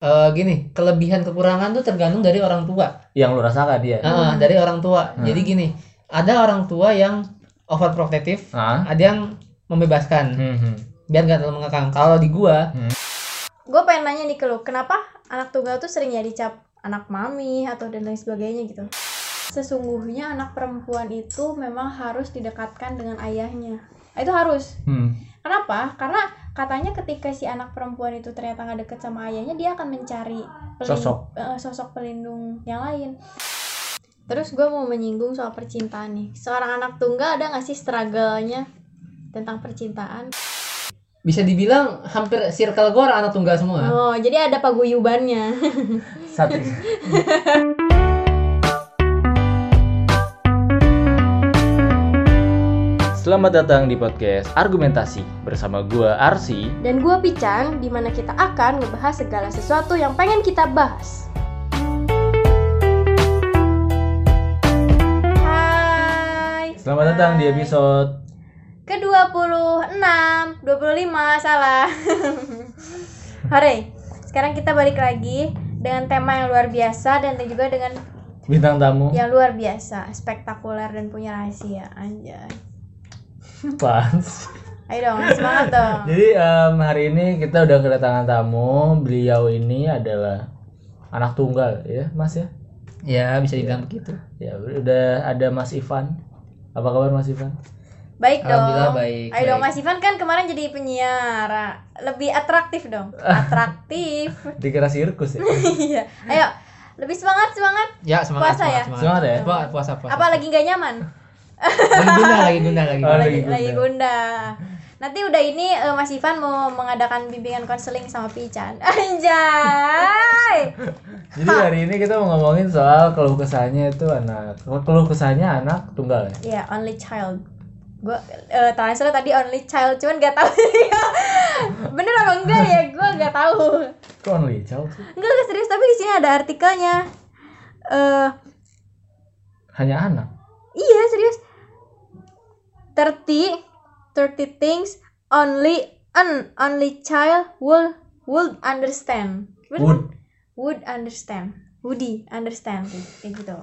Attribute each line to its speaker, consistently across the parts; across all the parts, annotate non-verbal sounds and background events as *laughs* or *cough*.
Speaker 1: eh, gini, kelebihan kekurangan tuh tergantung dari orang tua.
Speaker 2: yang lu rasakan dia
Speaker 1: Ah, dari orang tua.
Speaker 2: Hmm.
Speaker 1: Jadi gini, ada orang tua yang overprotective,
Speaker 2: ah
Speaker 1: ada yang membebaskan
Speaker 2: Hmm, hmm.
Speaker 1: biar nggak terlalu mengekang. Kalau di gua,
Speaker 3: Gue pengen nanya nih ke lu, kenapa anak tunggal tuh sering ya dicap anak mami atau dan lain sebagainya gitu? Sesungguhnya anak perempuan itu memang harus didekatkan dengan ayahnya. Ah, Itu harus.
Speaker 2: Hmm.
Speaker 3: Kenapa? Karena katanya ketika si anak perempuan itu ternyata nggak deket sama ayahnya, dia akan mencari pelin-
Speaker 2: Sosok.
Speaker 3: eh, sosok pelindung yang lain. Terus gue mau menyinggung soal percintaan nih. Seorang anak tunggal ada nggak sih struggle-nya tentang percintaan?
Speaker 1: bisa dibilang hampir circle gua orang anak tunggal
Speaker 2: Hmm.
Speaker 1: semua.
Speaker 3: Oh, jadi ada paguyubannya.
Speaker 2: satu Selamat datang di podcast Argumentasi bersama gua Arsi.
Speaker 3: Dan gue Picang, di mana kita akan ngebahas segala sesuatu yang pengen kita bahas. Hai.
Speaker 2: Selamat datang di
Speaker 3: Hai.
Speaker 2: episode
Speaker 3: ke-26, 25 salah. *laughs* Hore. Sekarang kita balik lagi dengan tema yang luar biasa dan juga dengan
Speaker 2: bintang tamu.
Speaker 3: yang luar biasa, spektakuler dan punya rahasia. Anjay.
Speaker 2: Apaan sih?
Speaker 3: Ayo dong, semangat dong.
Speaker 2: Jadi em, hari ini kita udah kedatangan tamu. Beliau ini adalah anak tunggal ya, Mas ya.
Speaker 1: Ya, bisa dibilang begitu.
Speaker 2: Ya udah ada Mas Ivan. Apa kabar Mas Ivan?
Speaker 3: Baik
Speaker 1: Alhamdulillah
Speaker 3: dong.
Speaker 1: baik.
Speaker 3: Ayo dong
Speaker 1: baik.
Speaker 3: Mas Ivan kan kemarin jadi penyiar. Lebih atraktif
Speaker 1: *laughs*
Speaker 3: dong. Atraktif. *laughs*
Speaker 2: Dikira sirkus ya.
Speaker 3: Iya. Ayo, lebih semangat semangat.
Speaker 1: Ya, semangat,
Speaker 3: Puasa ya?
Speaker 1: semangat, semangat.
Speaker 2: Semangat ya.
Speaker 1: Puasa, puasa, puasa.
Speaker 3: Apa lagi nggak nyaman?
Speaker 1: Lagi gundah, lagi gundah, lagi
Speaker 2: Oh,
Speaker 1: gundah.
Speaker 3: lagi,
Speaker 2: Gunda.
Speaker 3: lagi Gunda. Nanti udah ini eh, Mas Ivan mau mengadakan bimbingan konseling sama Pican. *laughs* Anjay.
Speaker 2: Jadi hari ini kita mau ngomongin soal keluh kesahnya itu anak keluh kesahnya anak tunggal ya.
Speaker 3: Iya, only child. Gue eh translate tadi only child, cuman gak tahu *laughs* Bener apa enggak ya? Gue gak tahu.
Speaker 2: Kok only child sih?
Speaker 3: Enggak, enggak serius, tapi di sini ada artikelnya. Eh,
Speaker 2: Hanya anak.
Speaker 3: iya serius. 30 30 things only an only child will would understand. Bener?
Speaker 2: Wood.
Speaker 3: would understand woody understand kayak gitu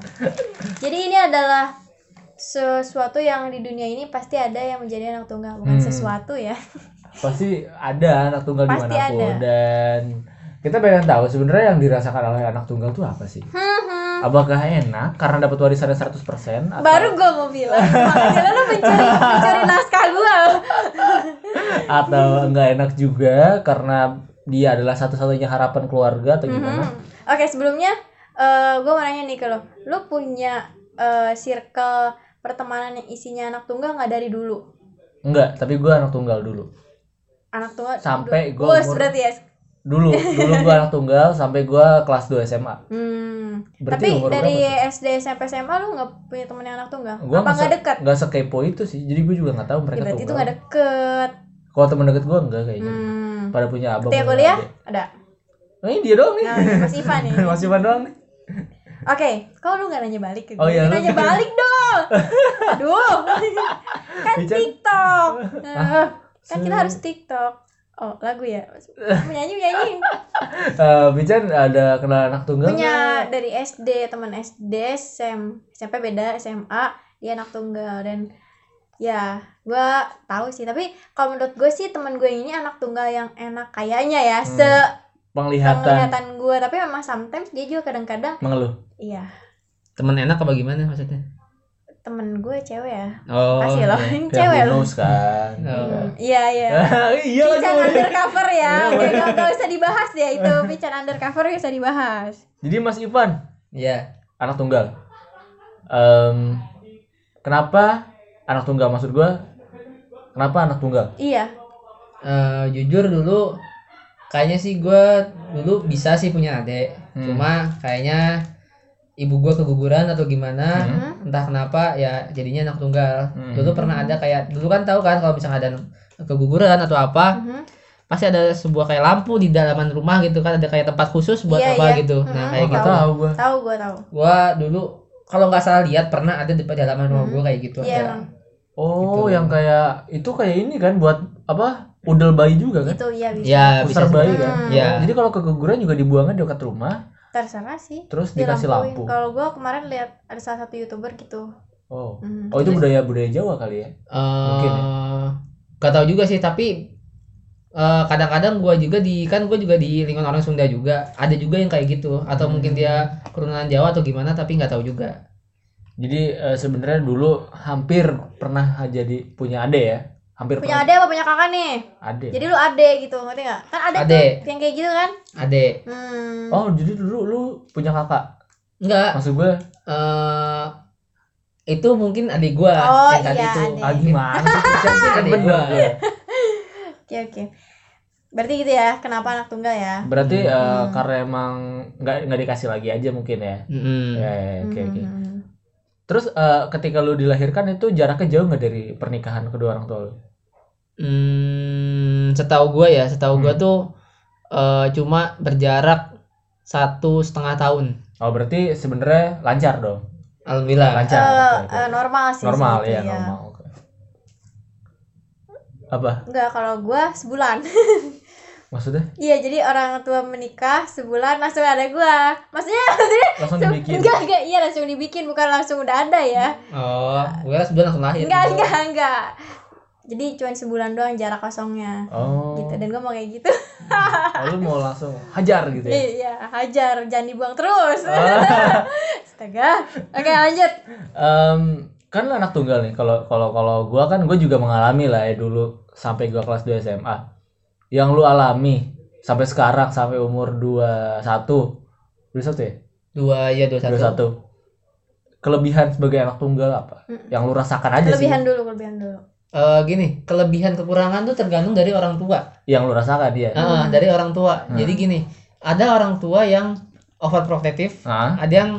Speaker 3: jadi ini adalah sesuatu yang di dunia ini pasti ada yang menjadi anak tunggal bukan
Speaker 2: Hmm.
Speaker 3: sesuatu ya *laughs*
Speaker 2: Pasti ada anak tunggal
Speaker 3: Pasti
Speaker 2: dimanapun
Speaker 3: ada.
Speaker 2: dan kita pengen tahu sebenarnya yang dirasakan oleh anak tunggal itu apa sih?
Speaker 3: Hmm, hmm.
Speaker 2: Apakah enak karena dapat warisannya 100% atau
Speaker 3: baru gue mau bilang makanya lo mencuri mencuri naskah gue
Speaker 2: atau enggak enak juga karena dia adalah satu-satunya harapan keluarga atau gimana?
Speaker 3: Hmm. oke sebelumnya gue mau nanya nih ke lo lo punya eh, circle pertemanan yang isinya anak tunggal nggak dari dulu Mm-hmm.
Speaker 2: Enggak, tapi gua anak tunggal dulu.
Speaker 3: anak tunggal
Speaker 2: Sampai
Speaker 3: gue
Speaker 2: gua umur-
Speaker 3: berarti ya
Speaker 2: Dulu, dulu gua anak tunggal sampai gua kelas 2 SMA.
Speaker 3: hmm.
Speaker 2: Berarti
Speaker 3: tapi
Speaker 2: umur
Speaker 3: dari
Speaker 2: berapa
Speaker 3: SD SMP SMA lu nggak punya temen yang anak tunggal
Speaker 2: Gua
Speaker 3: apa
Speaker 2: nggak
Speaker 3: nggak
Speaker 2: se-
Speaker 3: dekat
Speaker 2: nggak sekepo itu sih jadi gue juga nggak tahu
Speaker 3: ya,
Speaker 2: mereka
Speaker 3: berarti itu
Speaker 2: tunggal
Speaker 3: nggak deket
Speaker 2: kalau teman deket gue enggak kayaknya
Speaker 3: hmm.
Speaker 2: pada punya abang
Speaker 3: Tiap
Speaker 2: punya
Speaker 3: kuliah
Speaker 2: adik.
Speaker 3: ada
Speaker 2: nah, ini dia doang nih
Speaker 3: nah,
Speaker 2: *laughs*
Speaker 3: Mas Ivan nih oke
Speaker 2: Mas Ivan doang nih
Speaker 3: kok lu nggak nanya balik ke gue
Speaker 2: Oh, iya, lu-
Speaker 3: nanya balik
Speaker 2: *laughs*
Speaker 3: dong aduh kan
Speaker 2: Bicara- Ah.
Speaker 3: TikTok Eh, kan
Speaker 2: Hmm.
Speaker 3: kita harus TikTok oh lagu
Speaker 2: *laughs*
Speaker 3: ya menyanyi menyanyi
Speaker 2: Eh, Bican ada kenal anak tunggal
Speaker 3: punya dari SD teman SD SM, SMP beda SMA dia anak tunggal dan ya gua tahu sih tapi kalau menurut gue sih teman gue ini anak tunggal yang enak kayaknya ya
Speaker 2: Hmm,
Speaker 3: se
Speaker 2: penglihatan
Speaker 3: penglihatan gue tapi memang sometimes dia juga kadang-kadang
Speaker 2: mengeluh
Speaker 3: iya
Speaker 1: Temen enak apa gimana maksudnya?
Speaker 3: temen gue cewek ya
Speaker 1: Oh.
Speaker 3: kasih loh
Speaker 1: iya.
Speaker 3: ini
Speaker 2: Kayak
Speaker 3: cewek loh
Speaker 2: bonus kan
Speaker 1: Oh.
Speaker 3: iya iya
Speaker 2: *laughs* iya Eh. lah
Speaker 3: Pican
Speaker 2: cewek.
Speaker 3: undercover ya, oke nggak nggak usah dibahas ya itu Pican undercover nggak usah dibahas.
Speaker 2: jadi Mas Ivan
Speaker 1: Iya.
Speaker 2: anak tunggal Em, kenapa anak tunggal maksud gue kenapa anak tunggal
Speaker 3: Iya,
Speaker 1: Eh, jujur dulu kayaknya sih gue dulu bisa sih punya adik
Speaker 2: Hmm.
Speaker 1: cuma kayaknya ibu gue keguguran atau gimana
Speaker 2: Hmm.
Speaker 3: Hmm.
Speaker 1: entah kenapa ya jadinya anak tunggal
Speaker 2: Hmm.
Speaker 1: dulu pernah ada kayak dulu kan tahu kan kalau misalnya ada keguguran atau apa
Speaker 3: Mhm.
Speaker 1: pasti ada sebuah kayak lampu di dalaman rumah gitu kan ada kayak tempat khusus buat
Speaker 3: Iya,
Speaker 1: apa
Speaker 3: iya.
Speaker 1: gitu
Speaker 3: Hmm.
Speaker 1: nah
Speaker 2: Oh,
Speaker 1: kayak
Speaker 2: nggak
Speaker 1: gitu
Speaker 2: tahu gue
Speaker 3: tahu gue tahu.
Speaker 1: gue dulu kalau nggak salah lihat pernah ada di dalaman rumah
Speaker 3: Hmm.
Speaker 1: gue kayak gitu
Speaker 3: Iya,
Speaker 1: ada.
Speaker 3: emang.
Speaker 2: Oh,
Speaker 1: Gitu.
Speaker 2: yang kayak itu kayak ini kan buat apa? udel bayi juga kan
Speaker 3: Gitu ya bisa.
Speaker 1: ya bisa
Speaker 2: Pusar bayi
Speaker 1: sih.
Speaker 2: kan
Speaker 3: Hmm.
Speaker 1: ya
Speaker 2: jadi kalau keguguran juga dibuangnya di dekat rumah
Speaker 3: Terserah sih.
Speaker 2: terus dikasih
Speaker 3: dilampuin.
Speaker 2: lampu
Speaker 3: Kalau gua kemarin lihat ada salah satu youtuber gitu.
Speaker 2: oh
Speaker 3: Hmm,
Speaker 2: oh itu
Speaker 3: terus-
Speaker 2: budaya budaya Jawa kali ya Mungkin ya.
Speaker 1: eh gak tau juga sih tapi eh, kadang-kadang gua juga di kan gua juga di lingkungan orang Sunda juga ada juga yang kayak gitu atau
Speaker 2: Hmm.
Speaker 1: mungkin dia keturunan Jawa atau gimana tapi nggak tahu juga
Speaker 2: jadi eh, sebenarnya dulu hampir pernah jadi punya ade ya hampir pernah
Speaker 3: iya, Punya ade apa punya kakak nih?
Speaker 2: ade
Speaker 3: Jadi lu ade gitu, ngerti nggak? Kan ada
Speaker 1: Ade.
Speaker 3: tuh yang kayak gitu kan?
Speaker 1: ade
Speaker 3: Hmm.
Speaker 2: oh jadi dulu lu punya kakak
Speaker 1: enggak
Speaker 2: maksud gue
Speaker 1: eh itu mungkin adik gua
Speaker 3: Oh,
Speaker 1: yang tadi
Speaker 3: iya,
Speaker 1: itu
Speaker 3: adik.
Speaker 2: ah gimana sih?
Speaker 1: *laughs*
Speaker 2: kan
Speaker 1: Adik
Speaker 2: bener
Speaker 1: gua.
Speaker 2: gua.
Speaker 3: Oke oke. Berarti gitu ya, kenapa anak tunggal ya?
Speaker 2: berarti eh,
Speaker 3: Hmm.
Speaker 2: karena emang nggak nggak dikasih lagi aja mungkin ya
Speaker 1: Mm-mm.
Speaker 2: Ya, ya, ya, oke oke
Speaker 3: Hmm.
Speaker 2: terus eh, ketika lu dilahirkan itu jaraknya jauh nggak dari pernikahan kedua orang tua lu
Speaker 1: Hmm, setahu gua ya setahu gua
Speaker 2: Hmm.
Speaker 1: tuh eh, cuma berjarak satu setengah tahun
Speaker 2: oh berarti sebenarnya lancar dong
Speaker 1: alhamdulillah
Speaker 2: lancar
Speaker 3: Eh,
Speaker 2: oke, oke.
Speaker 3: eh, normal sih. iya.
Speaker 2: normal
Speaker 3: segitu,
Speaker 2: ya normal oke. apa
Speaker 3: Enggak, kalau gua sebulan. *laughs*
Speaker 2: maksudnya
Speaker 3: Iya, jadi orang tua menikah sebulan langsung ada gua. Maksudnya *laughs* maksudnya
Speaker 2: langsung
Speaker 3: se-
Speaker 2: dibikin
Speaker 3: enggak enggak iya langsung dibikin bukan langsung udah ada ya.
Speaker 1: oh gua sebulan langsung lahir
Speaker 3: Enggak,
Speaker 1: gitu.
Speaker 3: enggak, enggak. Jadi cuman sebulan doang jarak kosongnya.
Speaker 2: oh
Speaker 3: Gitu dan gua mau kayak gitu.
Speaker 2: oh, lu mau langsung hajar gitu ya
Speaker 3: *laughs* Iya, hajar, jangan dibuang terus.
Speaker 2: Ah.
Speaker 3: *laughs* Astaga. Oke, lanjut.
Speaker 2: Em, kan lu anak tunggal nih kalau kalau kalau gua kan gua juga mengalami lah ya dulu sampai gua kelas 2 SMA yang lu alami sampai sekarang sampai umur 21 21 ya
Speaker 1: dua ya dua satu
Speaker 2: 21 kelebihan sebagai anak tunggal apa
Speaker 3: Mm.
Speaker 2: yang lu
Speaker 1: Ya,
Speaker 2: rasakan aja
Speaker 3: Kelebihan dulu, kelebihan dulu.
Speaker 1: Eh, gini kelebihan kekurangan tuh tergantung dari orang tua
Speaker 2: sih yang lu rasakan iya. dia
Speaker 1: Ah, ah, dari orang tua
Speaker 2: Hmm.
Speaker 1: jadi gini ada orang tua yang overprotective
Speaker 2: Heeh.
Speaker 1: ada yang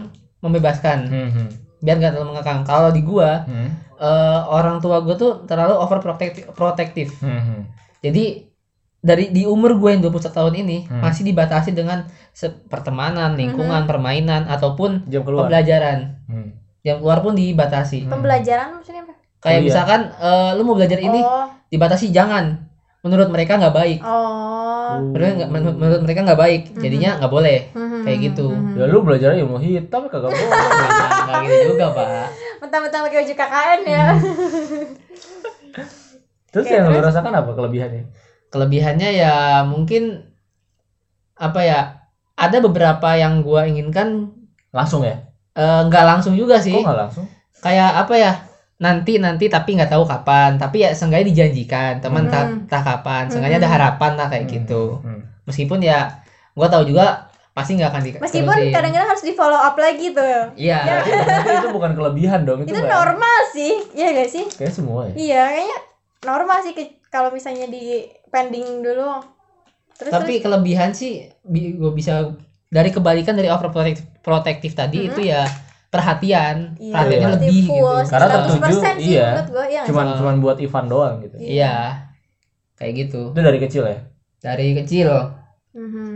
Speaker 1: membebaskan
Speaker 2: Hmm, hmm,
Speaker 1: biar nggak terlalu mengekang kalau di gua
Speaker 2: hmm,
Speaker 1: eh, orang tua gua tuh terlalu overprotective protective
Speaker 2: hmm, hmm.
Speaker 1: Jadi dari di umur gue yang 21 tahun ini
Speaker 2: Hmm.
Speaker 1: masih dibatasi dengan se- pertemanan, lingkungan, permainan ataupun
Speaker 2: jam keluar
Speaker 1: pembelajaran.
Speaker 2: Hmm.
Speaker 1: Yang keluar pun dibatasi.
Speaker 2: Hmm.
Speaker 3: Pembelajaran maksudnya apa?
Speaker 1: Kayak
Speaker 2: Kuliah.
Speaker 1: misalkan eh, lu mau belajar ini
Speaker 3: Oh,
Speaker 1: dibatasi jangan. Menurut mereka nggak baik.
Speaker 3: oh.
Speaker 2: Uh.
Speaker 1: Menurut, menurut- menurut mereka nggak baik. Jadinya nggak boleh.
Speaker 3: Hmm,
Speaker 1: Kayak gitu.
Speaker 2: ya
Speaker 3: hmm, hmm.
Speaker 2: lu belajar ilmu hitam kagak boleh
Speaker 3: *laughs*
Speaker 1: Nah, nggak gitu juga pak.
Speaker 3: Mentang-mentang pakai baju KKN ya.
Speaker 1: Hmm.
Speaker 2: terus
Speaker 3: Oke,
Speaker 2: yang lu
Speaker 3: terus?
Speaker 2: rasakan apa kelebihannya
Speaker 1: Kelebihannya ya mungkin apa ya? Ada beberapa yang gua inginkan
Speaker 2: langsung ya
Speaker 1: eh, nggak langsung juga sih.
Speaker 2: kok nggak langsung
Speaker 1: kayak apa ya nanti nanti tapi nggak tahu kapan tapi ya seenggaknya dijanjikan teman tak
Speaker 3: Hmm.
Speaker 1: tak kapan seenggaknya ada
Speaker 3: Hmm.
Speaker 1: harapan lah kayak
Speaker 2: Hmm.
Speaker 1: gitu
Speaker 2: Hmm.
Speaker 1: meskipun ya gua tahu juga pasti nggak akan diterusin
Speaker 3: Meskipun kadang-kadang harus di follow up lagi tuh.
Speaker 1: iya
Speaker 2: Ya, tapi itu bukan kelebihan dong itu,
Speaker 3: Itu
Speaker 2: nggak-
Speaker 3: normal sih, iya gak sih?
Speaker 2: kayak semua ya
Speaker 3: Iya, kayaknya normal sih ke- kalau misalnya di pending dulu. Terus
Speaker 1: tapi
Speaker 3: terus
Speaker 1: kelebihan sih bi- gua bisa dari kebalikan dari overprotective protektif tadi
Speaker 3: Hmm.
Speaker 1: itu ya perhatian
Speaker 3: Iya,
Speaker 1: perhatiannya
Speaker 2: berarti
Speaker 1: lebih gitu
Speaker 3: full,
Speaker 2: Karena
Speaker 3: 100% sih
Speaker 2: tertuju, iya.
Speaker 3: menurut gue iya. nggak
Speaker 2: cuman
Speaker 1: Ah.
Speaker 2: cuman buat Ivan doang gitu
Speaker 3: Iya.
Speaker 1: iya kayak gitu
Speaker 2: itu dari kecil ya
Speaker 1: dari kecil
Speaker 3: sih? Mhm.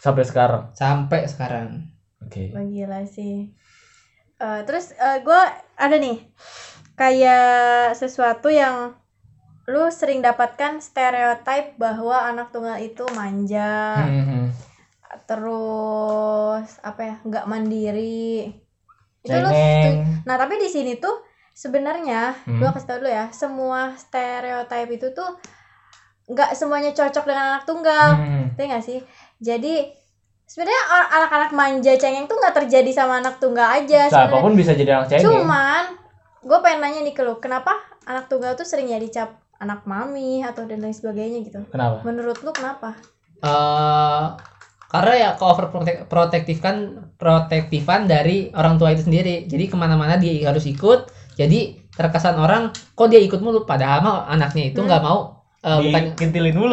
Speaker 2: sampai sekarang
Speaker 1: sampai sekarang
Speaker 2: oke
Speaker 3: Wah, gila sih. Eh, terus gue ada nih kayak sesuatu yang lu sering dapatkan stereotip bahwa anak tunggal itu manja,
Speaker 2: Hmm, hmm.
Speaker 3: terus apa ya nggak mandiri itu
Speaker 2: Cengeng.
Speaker 3: lu setuju- nah tapi di sini tuh sebenarnya
Speaker 2: Hmm.
Speaker 3: gua kasih tau dulu ya semua stereotip itu tuh nggak semuanya cocok dengan anak tunggal
Speaker 2: Hmm.
Speaker 3: ngerti nggak sih jadi sebenarnya or- anak-anak manja cengeng tuh nggak terjadi sama anak tunggal aja sebenarnya
Speaker 2: siapapun bisa jadi anak cengeng
Speaker 3: cuman gue pengen nanya nih ke lu kenapa anak tunggal tuh sering ya dicap anak mami atau dan lain sebagainya gitu
Speaker 2: kenapa
Speaker 3: menurut lu kenapa
Speaker 1: eh karena ya ke protektif kan protektifan dari orang tua itu sendiri jadi kemana-mana dia harus ikut jadi terkesan orang kok dia ikut mulu padahal mah anaknya itu
Speaker 3: Hmm.
Speaker 1: nggak mau eh, bukan
Speaker 2: dikintilin dulu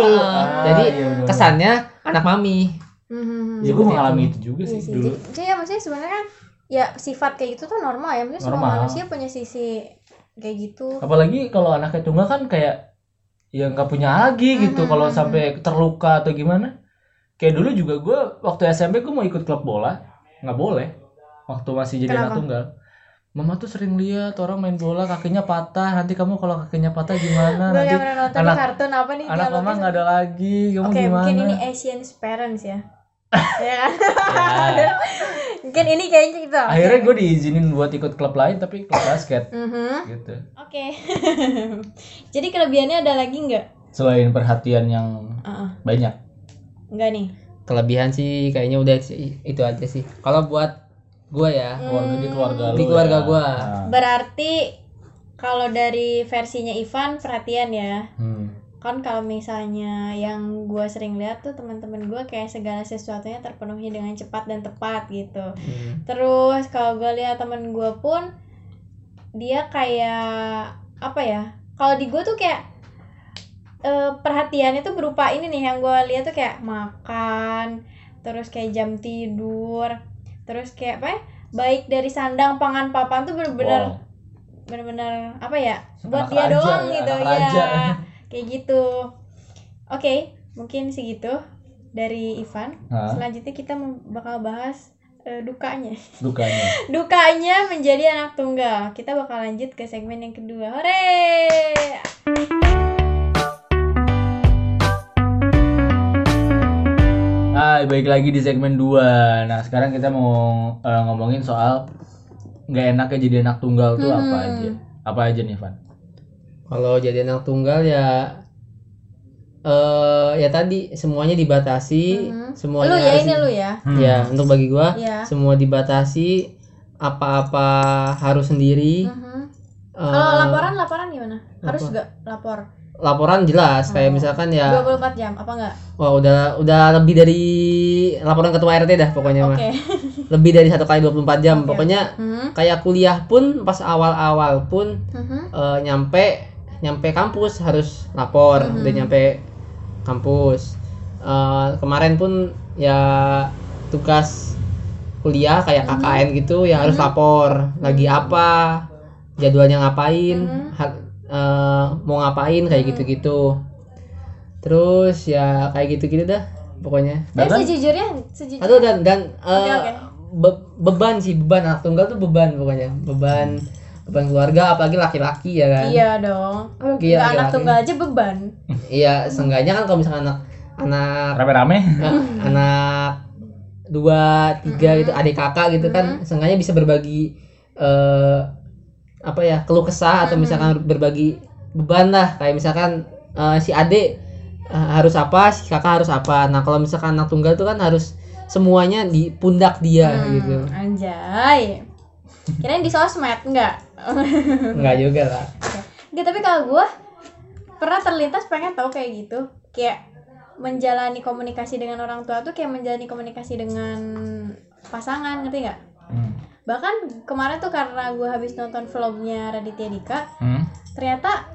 Speaker 1: Eh,
Speaker 3: Ah,
Speaker 1: jadi
Speaker 2: iya, bener.
Speaker 1: kesannya anak mami
Speaker 3: Mhm.
Speaker 2: ya gue mengalami itu juga
Speaker 3: Iya
Speaker 2: sih
Speaker 3: sih.
Speaker 2: dulu
Speaker 3: Jadi, jadi ya maksudnya sebenarnya kan ya sifat kayak gitu tuh normal ya. Maksudnya semua
Speaker 2: Normal.
Speaker 3: manusia punya sisi kayak gitu.
Speaker 2: apalagi kalau anaknya tunggal kan kayak ya nggak punya lagi gitu
Speaker 3: Mhm.
Speaker 2: kalau sampai terluka atau gimana kayak dulu juga gue waktu SMP gue mau ikut klub bola nggak boleh waktu masih jadi anak
Speaker 3: Kenapa?
Speaker 2: tunggal Mama tuh sering lihat orang main bola kakinya patah. Nanti kamu kalau kakinya patah gimana?
Speaker 3: Gue
Speaker 2: Nanti
Speaker 3: yang pernah nonton
Speaker 2: anak-
Speaker 3: kartun apa nih? gitu.
Speaker 2: anak
Speaker 3: dialognya?
Speaker 2: mama nggak ada lagi. Kamu
Speaker 3: Oke,
Speaker 2: gimana?
Speaker 3: mungkin ini Asian's parents
Speaker 2: *laughs*
Speaker 3: ya. ya kan?
Speaker 2: Ya.
Speaker 3: Mungkin ini kayaknya gitu.
Speaker 2: Akhirnya gue diizinin buat ikut klub lain tapi klub basket
Speaker 3: Mhm.
Speaker 2: gitu.
Speaker 3: Oke. *laughs* Jadi kelebihannya ada lagi nggak?
Speaker 2: Selain perhatian yang
Speaker 3: Heeh.
Speaker 2: banyak.
Speaker 3: Nggak nih.
Speaker 1: Kelebihan sih kayaknya udah sih, itu aja sih. Kalau buat gua ya,
Speaker 2: Keluarga di keluarga
Speaker 1: Di
Speaker 2: lu
Speaker 1: keluarga gua.
Speaker 2: Nah.
Speaker 3: Berarti kalau dari versinya Ivan perhatian ya.
Speaker 2: Hmm.
Speaker 3: Kan kalau misalnya yang gua sering lihat tuh teman-teman gua kayak segala sesuatunya terpenuhi dengan cepat dan tepat gitu.
Speaker 1: hmm,
Speaker 3: Terus kalau gua lihat temen gua pun dia kayak apa ya? Kalau di gua tuh kayak eh, perhatiannya tuh berupa ini nih yang gua lihat tuh kayak makan, terus kayak jam tidur, terus kayak apa ya? Baik dari sandang pangan papan tuh bener-bener
Speaker 2: Wow.
Speaker 3: bener-bener apa ya
Speaker 2: Anak
Speaker 3: buat dia
Speaker 2: raja
Speaker 3: doang
Speaker 2: ya,
Speaker 3: gitu
Speaker 2: anak raja.
Speaker 3: ya kayak gitu oke mungkin segitu dari Ivan
Speaker 2: Hah?
Speaker 3: selanjutnya kita mau- bakal bahas eh, dukanya
Speaker 1: *laughs*
Speaker 2: Dukanya.
Speaker 3: dukanya menjadi anak tunggal kita bakal lanjut ke segmen yang kedua hore
Speaker 2: Hai, balik lagi di segmen 2. Nah, sekarang kita mau eh, ngomongin soal nggak enaknya jadi anak tunggal tuh apa
Speaker 3: Hmm.
Speaker 2: aja? Apa aja nih, Van?
Speaker 1: Kalau jadi anak tunggal ya eh ya tadi semuanya dibatasi,
Speaker 3: Mhm.
Speaker 1: semuanya
Speaker 3: lu ya
Speaker 1: harus-
Speaker 3: ini lu ya
Speaker 1: Ya, untuk bagi gua
Speaker 3: ya
Speaker 1: semua dibatasi apa-apa harus sendiri.
Speaker 3: Mhm.
Speaker 1: Eh,
Speaker 3: kalau laporan laporan gimana harus
Speaker 1: lapor.
Speaker 3: nggak lapor
Speaker 1: laporan jelas kayak
Speaker 3: Oh.
Speaker 1: misalkan ya
Speaker 3: 24 jam apa enggak
Speaker 1: wah udah udah lebih dari laporan ketua RT dah pokoknya
Speaker 3: oke
Speaker 1: mah. Lebih dari satu kali 24 jam
Speaker 3: Oke,
Speaker 1: pokoknya
Speaker 3: Mhm,
Speaker 1: kayak kuliah pun pas awal-awal pun
Speaker 3: mhm.
Speaker 1: eh, nyampe nyampe kampus harus lapor
Speaker 3: Mhm.
Speaker 1: udah nyampe kampus. Eh, kemarin pun ya tugas kuliah kayak
Speaker 3: Mhm.
Speaker 1: KKN gitu ya harus
Speaker 3: Mhm.
Speaker 1: lapor lagi
Speaker 3: Mm-hmm.
Speaker 1: apa jadwalnya ngapain
Speaker 3: Mhm.
Speaker 1: har- eh, mau ngapain kayak
Speaker 3: Mhm.
Speaker 1: gitu-gitu terus ya kayak gitu-gitu dah pokoknya
Speaker 3: Dan
Speaker 2: Bahkan-
Speaker 3: Eh, sejujurnya, sejujurnya.
Speaker 1: Aduh dan dan eh,
Speaker 3: Oke, oke.
Speaker 1: be- beban sih beban anak tunggal tuh beban pokoknya beban beban keluarga apalagi laki-laki ya kan iya,
Speaker 3: Iya dong.
Speaker 1: Oke,
Speaker 3: Nggak
Speaker 1: laki-laki.
Speaker 3: anak tunggal aja beban.
Speaker 1: Iya, seenggaknya kan kalau misalkan anak anak
Speaker 2: *laughs* Rame-rame.
Speaker 1: eh, anak dua tiga gitu adik kakak gitu kan seenggaknya bisa berbagi eh apa ya keluh kesah atau misalkan berbagi beban lah kayak misalkan eh, si adik eh, harus apa si kakak harus apa nah kalau misalkan anak tunggal itu kan harus semuanya di pundak dia
Speaker 3: Hmm,
Speaker 1: gitu
Speaker 3: Anjay. Kirain di sosmed enggak?
Speaker 1: Enggak juga lah
Speaker 3: Enggak, tapi kalau gua pernah terlintas pengen tahu kayak gitu. Kayak menjalani komunikasi dengan orang tua tuh kayak menjalani komunikasi dengan pasangan, ngerti nggak?
Speaker 2: Hmm.
Speaker 3: Bahkan kemarin tuh karena gua habis nonton vlognya Raditya Dika,
Speaker 2: Hmm.
Speaker 3: ternyata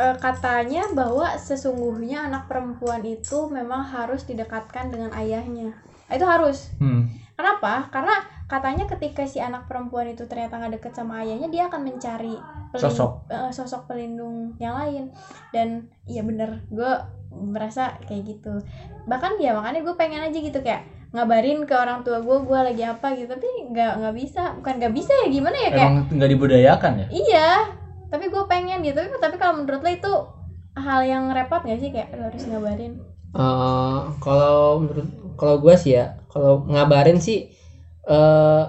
Speaker 3: eh, katanya bahwa sesungguhnya anak perempuan itu memang harus didekatkan dengan ayahnya itu harus
Speaker 2: Hmm.
Speaker 3: kenapa karena katanya ketika si anak perempuan itu ternyata nggak deket sama ayahnya dia akan mencari pelin-
Speaker 2: Sosok.
Speaker 3: eh, sosok pelindung yang lain dan iya bener gue merasa kayak gitu bahkan ya makanya gue pengen aja gitu kayak ngabarin ke orang tua gue gue lagi apa gitu tapi nggak nggak bisa bukan nggak bisa ya gimana ya kayak
Speaker 2: Emang nggak dibudayakan ya?
Speaker 3: Iya, tapi gue pengen gitu. Tapi, tapi kalau menurut lo itu hal yang repot gak sih kayak lo harus ngabarin?
Speaker 1: Eh, kalau menurut kalau gue sih ya kalau ngabarin sih eh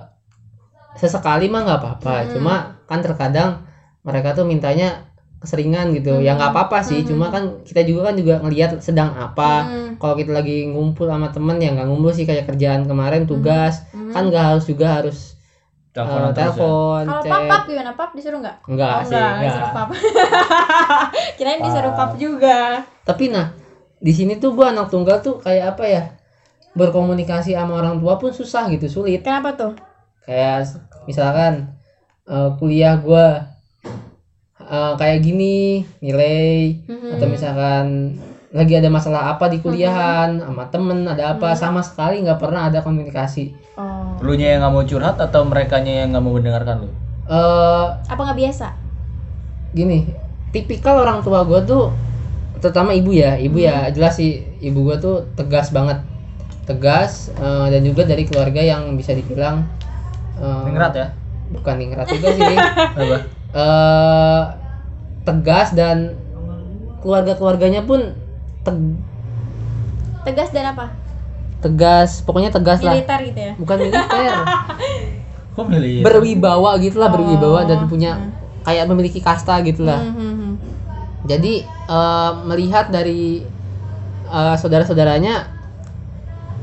Speaker 1: sesekali mah nggak apa-apa
Speaker 3: Hmm.
Speaker 1: cuma kan terkadang mereka tuh mintanya keseringan gitu ya
Speaker 3: Hmm.
Speaker 1: nggak apa-apa sih
Speaker 3: Hmm.
Speaker 1: cuma kan kita juga kan juga ngelihat sedang apa
Speaker 3: Hmm,
Speaker 1: kalau kita lagi ngumpul sama temen ya nggak ngumpul sih kayak kerjaan kemarin tugas
Speaker 3: hmm.
Speaker 1: kan nggak harus juga harus eh,
Speaker 2: terus ya?
Speaker 1: telepon
Speaker 3: Kalau pap
Speaker 1: chat
Speaker 3: pap gimana? Pap disuruh nggak?
Speaker 2: Oh,
Speaker 1: enggak sih enggak.
Speaker 3: disuruh pap. *laughs* Kirain disuruh
Speaker 2: Pap.
Speaker 3: pap juga.
Speaker 1: tapi nah di sini tuh gua anak tunggal tuh kayak apa ya berkomunikasi sama orang tua pun susah gitu sulit
Speaker 3: Kenapa tuh?
Speaker 1: kayak s- misalkan eh, kuliah gua eh, kayak gini nilai
Speaker 3: Mm-hmm.
Speaker 1: atau
Speaker 3: Hmm.
Speaker 1: misalkan lagi ada masalah apa di kuliahan sama temen ada apa
Speaker 3: Mhm.
Speaker 1: sama sekali nggak pernah ada komunikasi
Speaker 3: Oh.
Speaker 2: Lunya yang nggak mau curhat atau merekanya yang nggak mau mendengarkan lu?
Speaker 1: eh
Speaker 3: Apa nggak biasa?
Speaker 1: gini tipikal orang tua gua tuh terutama ibu ya ibu ya jelas sih ibu gua tuh tegas banget tegas eh, dan juga dari keluarga yang bisa dibilang eh,
Speaker 2: Ningrat ya?
Speaker 1: bukan yang keras juga sih
Speaker 2: Apa?
Speaker 1: eh tegas dan keluarga keluarganya pun teg-
Speaker 3: Tegas dan apa?
Speaker 1: tegas pokoknya tegas lah
Speaker 3: Militer gitu ya.
Speaker 1: bukan militer
Speaker 2: Kok milih?
Speaker 1: berwibawa gitulah berwibawa dan
Speaker 3: Oh,
Speaker 1: punya
Speaker 3: hmm.
Speaker 1: kayak memiliki kasta gitulah
Speaker 3: Hmm, hmm, hmm.
Speaker 1: jadi eh, melihat dari eh, saudara-saudaranya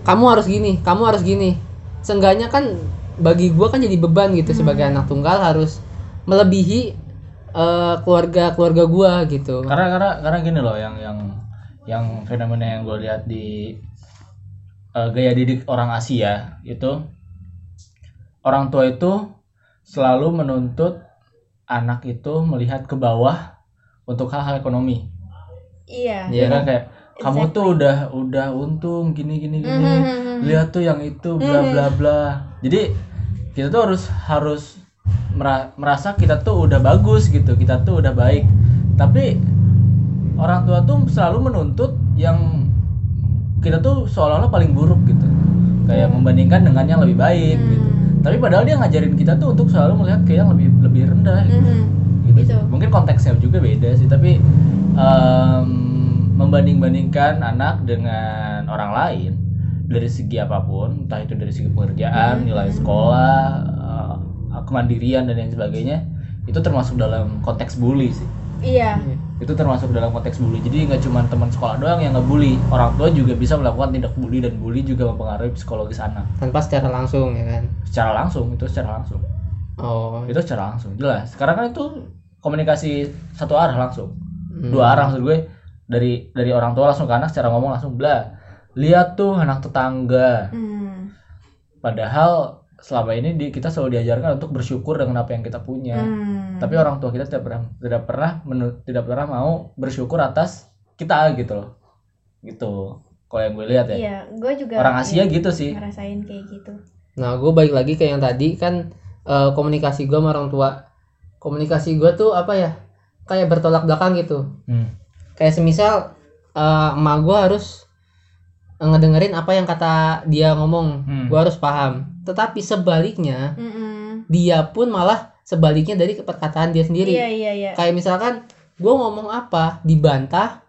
Speaker 1: kamu harus gini kamu harus gini seenggaknya kan bagi gua kan jadi beban gitu sebagai anak tunggal harus melebihi eh, keluarga keluarga gua gitu
Speaker 2: karena karena karena gini loh yang yang yang fenomena yang gue lihat di eh, gaya didik orang Asia itu orang tua itu selalu menuntut anak itu melihat ke bawah untuk hal-hal ekonomi
Speaker 3: Iya.
Speaker 2: ya kan kayak kamu
Speaker 3: Exactly.
Speaker 2: tuh udah udah untung gini gini gini
Speaker 3: Hmm, hmm, hmm, hmm.
Speaker 2: lihat tuh yang itu bla bla bla jadi kita tuh harus harus mera- merasa kita tuh udah bagus gitu kita tuh udah baik tapi orang tua tuh selalu menuntut yang kita tuh seolah-olah paling buruk gitu kayak
Speaker 3: Hmm.
Speaker 2: membandingkan dengan yang lebih baik
Speaker 3: Mm-hmm.
Speaker 2: gitu tapi padahal dia ngajarin kita tuh untuk selalu melihat ke yang lebih lebih rendah
Speaker 3: Hmm, hmm.
Speaker 2: gitu.
Speaker 3: Gitu.
Speaker 2: Mungkin konteksnya juga beda sih, tapi em, membanding-bandingkan anak dengan orang lain dari segi apapun, entah itu dari segi pekerjaan, nilai sekolah, eh, kemandirian dan lain sebagainya, itu termasuk dalam konteks bully sih.
Speaker 3: Iya.
Speaker 2: Itu termasuk dalam konteks bully. Jadi nggak cuma teman sekolah doang yang ngebully, orang tua juga bisa melakukan tindak bully dan bully juga mempengaruhi psikologis anak
Speaker 1: tanpa secara langsung ya kan
Speaker 2: secara langsung itu secara langsung
Speaker 1: oh
Speaker 2: itu secara langsung jelas karena kan itu komunikasi satu arah langsung
Speaker 1: hmm.
Speaker 2: dua arah maksud gue dari dari orang tua langsung ke anak secara ngomong langsung bla lihat tuh anak tetangga
Speaker 3: Hmm.
Speaker 2: padahal selama ini di, kita selalu diajarkan untuk bersyukur dengan apa yang kita punya
Speaker 3: Hmm.
Speaker 2: tapi orang tua kita tidak pernah tidak pernah menu- tidak pernah mau bersyukur atas kita gitu loh gitu kalau yang gue lihat ya
Speaker 3: Iya, gue juga
Speaker 2: orang Asia
Speaker 3: kayak
Speaker 2: gitu sih
Speaker 3: ngerasain kayak gitu.
Speaker 1: Nah, gue balik lagi ke yang tadi kan eh, komunikasi gue sama orang tua. Komunikasi gue tuh apa ya? Kayak bertolak belakang gitu.
Speaker 2: Hmm.
Speaker 1: Kayak semisal eh, emak gue harus ngedengerin apa yang kata dia ngomong.
Speaker 2: Hmm.
Speaker 1: Gue harus paham. Tetapi sebaliknya,
Speaker 3: Mm-mm.
Speaker 1: dia pun malah sebaliknya dari perkataan dia sendiri.
Speaker 3: Iya, iya, iya.
Speaker 1: Kayak misalkan gue ngomong apa dibantah,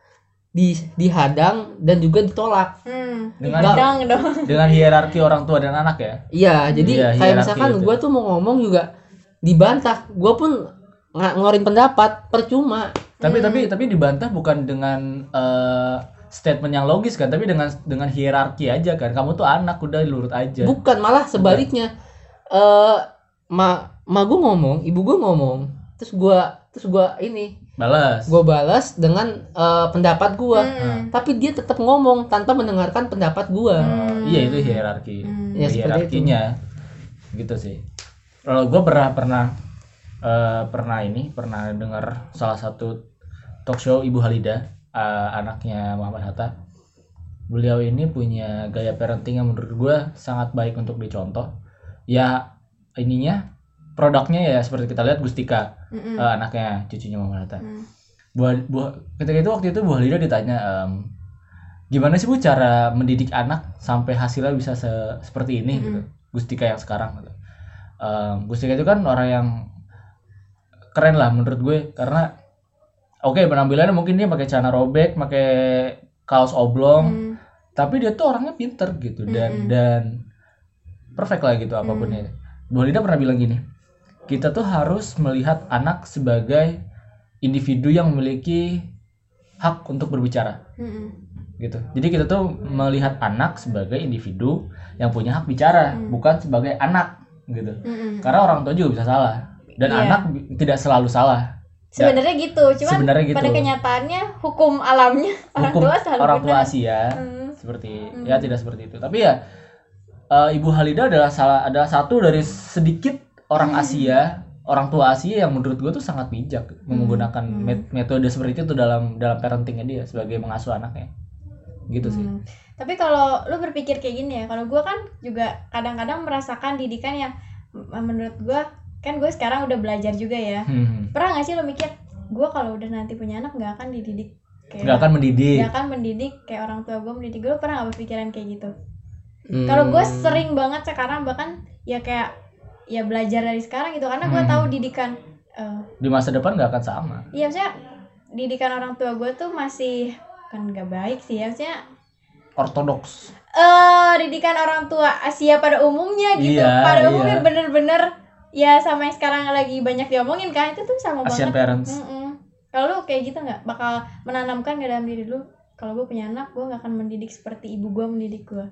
Speaker 1: di dihadang dan juga ditolak.
Speaker 3: Hmm.
Speaker 2: Dengan-
Speaker 3: Dang dong.
Speaker 2: dengan hierarki orang tua dan anak ya
Speaker 1: Iya, jadi
Speaker 2: Iya,
Speaker 1: kayak
Speaker 2: hierarki
Speaker 1: misalkan
Speaker 2: itu.
Speaker 1: gue tuh mau ngomong juga dibantah, gue pun ng- ngeluarin pendapat percuma.
Speaker 2: tapi
Speaker 3: Hmm.
Speaker 2: tapi tapi dibantah bukan dengan eh, statement yang logis kan tapi dengan dengan hierarki aja kan kamu tuh anak udah lurut aja
Speaker 1: Bukan malah
Speaker 2: Iya.
Speaker 1: sebaliknya. Eh, ma ma gue ngomong, ibu gue ngomong, terus gue terus gua ini
Speaker 2: balas
Speaker 1: gue balas dengan eh, pendapat gue,
Speaker 3: Hmm.
Speaker 1: tapi dia tetap ngomong tanpa mendengarkan pendapat gue.
Speaker 2: Eh, iya itu hierarki
Speaker 3: Hmm.
Speaker 1: Ya, seperti itu.
Speaker 2: hierarkinya gitu sih kalau gue pernah pernah eh, pernah ini pernah dengar salah satu talk show ibu Halida eh, anaknya Muhammad Hatta beliau ini punya gaya parenting yang menurut gue sangat baik untuk dicontoh ya ininya produknya ya seperti kita lihat Gustika
Speaker 1: Hmm.
Speaker 3: Mm-mm.
Speaker 2: eh, anaknya cucunya Mama Nata.
Speaker 3: Hmm.
Speaker 2: Bu- Bu- ketika itu waktu itu Bu Halida ditanya em, gimana sih Bu cara mendidik anak sampai hasilnya bisa se- seperti ini
Speaker 3: Mm-mm.
Speaker 2: gitu. Gustika yang sekarang gitu. Em, Gustika itu kan orang yang keren lah menurut gue karena oke penampilannya mungkin dia pakai celana robek, pakai kaos oblong,
Speaker 3: Hmm.
Speaker 2: tapi dia tuh orangnya pinter gitu dan
Speaker 3: Mm-mm. Mm.
Speaker 2: dan perfect lah gitu apapun itu. Bu Halida pernah bilang gini, kita tuh harus melihat anak sebagai individu yang memiliki hak untuk berbicara
Speaker 3: Mm-mm.
Speaker 2: gitu. Jadi kita tuh melihat anak sebagai individu yang punya hak bicara,
Speaker 3: Hmm.
Speaker 2: bukan sebagai anak gitu.
Speaker 3: Mm-mm.
Speaker 2: Karena orang tua juga bisa salah dan
Speaker 3: Iya.
Speaker 2: anak bi- tidak selalu salah.
Speaker 3: Sebenarnya gitu, cuman
Speaker 2: Sebenarnya gitu.
Speaker 3: pada kenyataannya hukum alamnya orang
Speaker 2: Hukum
Speaker 3: tua selalu
Speaker 2: orang tua ya.
Speaker 3: benar.
Speaker 2: Asia
Speaker 3: Hmm.
Speaker 2: seperti
Speaker 3: Hmm.
Speaker 2: ya tidak seperti itu. Tapi ya eh, Ibu Halida adalah salah adalah satu dari sedikit orang Asia, orang tua Asia yang menurut gue tuh sangat bijak menggunakan
Speaker 3: Hmm.
Speaker 2: met- metode seperti itu dalam dalam parentingnya dia sebagai mengasuh anaknya. Gitu sih.
Speaker 3: Hmm. Tapi kalau lu berpikir kayak gini ya, kalau gua kan juga kadang-kadang merasakan didikan yang m- menurut gua kan gue sekarang udah belajar juga ya.
Speaker 2: Hmm.
Speaker 3: Pernah nggak sih lo mikir, gua kalau udah nanti punya anak nggak akan dididik kayak
Speaker 2: Nggak akan mendidik.
Speaker 3: nggak akan mendidik kayak orang tua gue mendidik gue pernah nggak berpikiran kayak gitu?
Speaker 1: Hmm.
Speaker 3: Kalau gue sering banget sekarang bahkan ya kayak ya belajar dari sekarang gitu karena gue
Speaker 2: Hmm.
Speaker 3: tahu didikan eh,
Speaker 2: di masa depan nggak akan sama
Speaker 3: iya maksudnya didikan orang tua gue tuh masih kan nggak baik sih ya maksudnya
Speaker 2: ortodoks
Speaker 3: eh didikan orang tua Asia pada umumnya gitu
Speaker 2: Iya,
Speaker 3: pada
Speaker 2: iya.
Speaker 3: umumnya bener-bener ya sama yang sekarang lagi banyak diomongin kan itu tuh sama
Speaker 2: Asian
Speaker 3: banget
Speaker 2: parents
Speaker 3: Mm-mm. kalau lu kayak gitu nggak bakal menanamkan ke dalam diri lu kalau gue punya anak gue nggak akan mendidik seperti ibu gue mendidik gue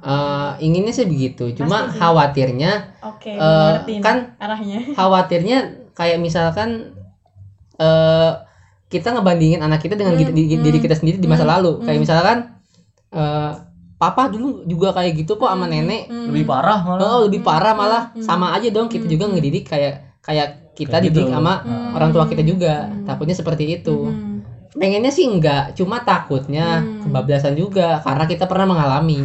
Speaker 1: Eh, inginnya sih begitu cuma
Speaker 3: Pasti sih.
Speaker 1: khawatirnya
Speaker 3: oke
Speaker 1: Eh,
Speaker 3: gua ngerti nih
Speaker 1: kan
Speaker 3: arahnya
Speaker 1: khawatirnya kayak misalkan eh kita ngebandingin anak kita dengan
Speaker 3: Hmm,
Speaker 1: diri, diri-
Speaker 3: hmm,
Speaker 1: diri kita sendiri di masa
Speaker 3: hmm,
Speaker 1: lalu kayak
Speaker 3: hmm.
Speaker 1: misalkan eh papa dulu juga kayak gitu kok sama
Speaker 3: Hmm,
Speaker 1: nenek
Speaker 3: hmm.
Speaker 2: lebih parah malah
Speaker 1: oh lebih
Speaker 3: hmm,
Speaker 1: parah
Speaker 3: hmm,
Speaker 1: malah
Speaker 3: hmm.
Speaker 1: sama aja dong kita
Speaker 3: Hmm,
Speaker 1: juga
Speaker 3: hmm.
Speaker 1: ngedidik kayak kayak kita
Speaker 2: Kayak
Speaker 1: didik
Speaker 2: gitu.
Speaker 1: sama
Speaker 3: Hmm.
Speaker 1: orang tua kita juga
Speaker 3: Hmm.
Speaker 1: takutnya seperti itu
Speaker 3: Mhm.
Speaker 1: pengennya sih enggak cuma takutnya
Speaker 3: Hmm.
Speaker 1: kebablasan juga karena kita pernah mengalami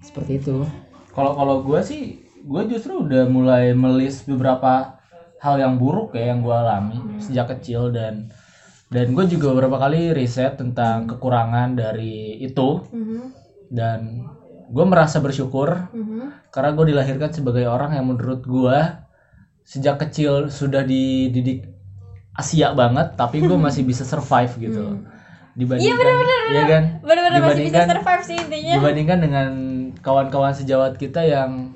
Speaker 1: seperti itu
Speaker 2: kalau kalau gue sih gue justru udah mulai melis beberapa hal yang buruk ya yang gue alami sejak kecil dan dan gue juga beberapa kali riset tentang kekurangan dari itu
Speaker 3: Mhm.
Speaker 2: dan gue merasa bersyukur
Speaker 3: Mhm.
Speaker 2: karena gue dilahirkan sebagai orang yang menurut gue sejak kecil sudah dididik Asia banget tapi gue masih bisa survive gitu loh dibandingkan iya kan
Speaker 3: bener-bener masih bisa
Speaker 2: Dibandingkan-
Speaker 3: survive sih intinya
Speaker 2: dibandingkan dengan kawan-kawan sejawat kita yang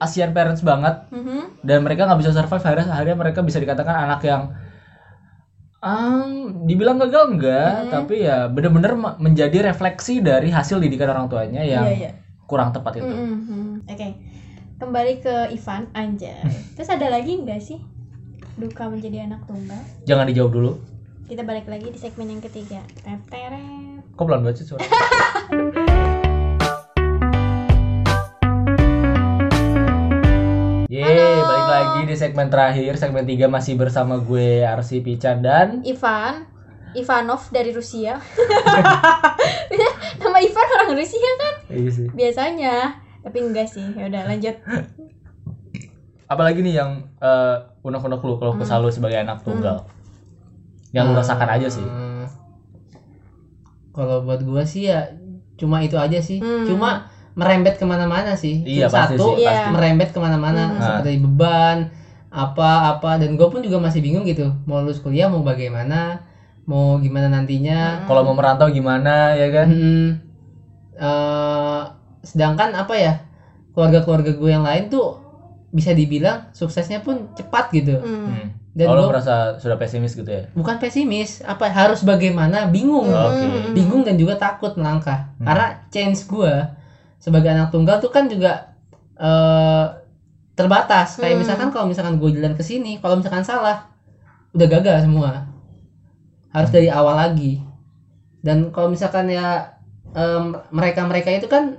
Speaker 2: Asian parents banget
Speaker 3: Mhm.
Speaker 2: dan mereka nggak bisa survive akhirnya, akhirnya mereka bisa dikatakan anak yang ah, dibilang gagal
Speaker 3: Iya.
Speaker 2: enggak tapi ya bener-bener me- menjadi refleksi dari hasil didikan orang tuanya yang gitu.
Speaker 3: Iya, iya.
Speaker 2: kurang tepat itu
Speaker 3: Mhm. Oke, kembali ke Ivan
Speaker 2: *laughs*
Speaker 3: Anjay. Terus ada lagi nggak sih duka menjadi anak tunggal?
Speaker 2: jangan dijawab dulu
Speaker 3: Kita balik lagi di segmen yang ketiga. Teret.
Speaker 2: kok pelan banget sih
Speaker 3: *laughs*
Speaker 2: suara Yeay,
Speaker 3: Halo.
Speaker 2: balik lagi di segmen terakhir, segmen 3 masih bersama gue Arsi Pican dan
Speaker 3: Ivan Ivanov dari Rusia. *laughs* Nama Ivan orang Rusia kan
Speaker 2: Iya sih.
Speaker 3: biasanya, tapi enggak sih. Ya udah lanjut.
Speaker 2: Apalagi nih yang eh unek-unek lu kalau kesal
Speaker 3: Hmm.
Speaker 2: lu sebagai anak tunggal. Yang lu rasakan aja sih.
Speaker 1: Hmm. Kalau buat gua sih ya cuma itu aja sih.
Speaker 3: Hmm.
Speaker 1: Cuma merembet kemana-mana sih.
Speaker 2: Iya,
Speaker 1: Cuma
Speaker 2: pasti
Speaker 1: satu
Speaker 2: sih, Nah.
Speaker 3: pasti.
Speaker 1: merembet kemana-mana
Speaker 3: Hmm.
Speaker 1: seperti beban apa-apa dan gue pun juga masih bingung gitu mau lulus kuliah mau bagaimana mau gimana nantinya
Speaker 2: Kalau mau merantau gimana ya kan?
Speaker 1: Hmm. Eh, sedangkan apa ya keluarga-keluarga gue yang lain tuh bisa dibilang suksesnya pun cepat gitu
Speaker 3: Hmm.
Speaker 2: Hmm.
Speaker 1: dan
Speaker 2: Kalau lu
Speaker 1: gua
Speaker 2: merasa sudah pesimis gitu ya.
Speaker 1: bukan pesimis apa harus bagaimana bingung
Speaker 2: Hmm. Oke.
Speaker 3: Mhm.
Speaker 1: bingung dan juga takut melangkah
Speaker 2: Hmm.
Speaker 1: karena change gua sebagai anak tunggal tuh kan juga eh, terbatas kayak
Speaker 3: Hmm.
Speaker 1: misalkan kalau misalkan gue jalan ke sini kalau misalkan salah udah gagal semua harus dari awal lagi dan kalau misalkan ya mereka mereka itu kan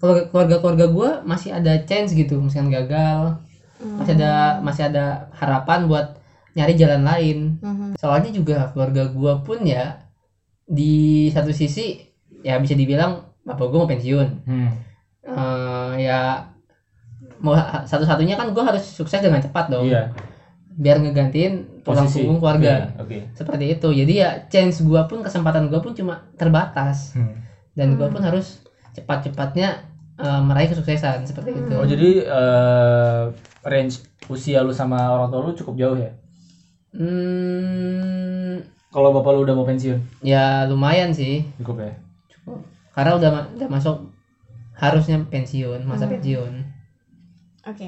Speaker 1: keluarga keluarga gua masih ada chance gitu misalkan gagal
Speaker 3: Hmm.
Speaker 1: masih ada masih ada harapan buat nyari jalan lain
Speaker 3: Mhm.
Speaker 1: soalnya juga keluarga gua pun ya di satu sisi ya bisa dibilang bapak gua mau pensiun
Speaker 2: Hmm.
Speaker 1: Eh, ya mau satu-satunya kan gua harus sukses dengan cepat dong
Speaker 2: Iya.
Speaker 1: biar ngegantiin tulang
Speaker 2: Posisi.
Speaker 1: punggung keluarga
Speaker 2: Iya, Oke.
Speaker 1: seperti itu jadi ya chance gua pun kesempatan gua pun cuma terbatas
Speaker 2: Hmm.
Speaker 1: dan gua
Speaker 3: Hmm.
Speaker 1: pun harus cepat-cepatnya eh, meraih kesuksesan seperti
Speaker 3: Hmm.
Speaker 1: itu
Speaker 2: Oh jadi eh, range usia lu sama orang tua lu cukup jauh ya?
Speaker 1: Hmm,
Speaker 2: Kalau bapak lu udah mau pensiun
Speaker 1: ya lumayan sih
Speaker 2: cukup ya.
Speaker 1: cukup karena udah ma- udah masuk harusnya pensiun masa
Speaker 3: Hmm.
Speaker 1: pensiun
Speaker 3: Oke.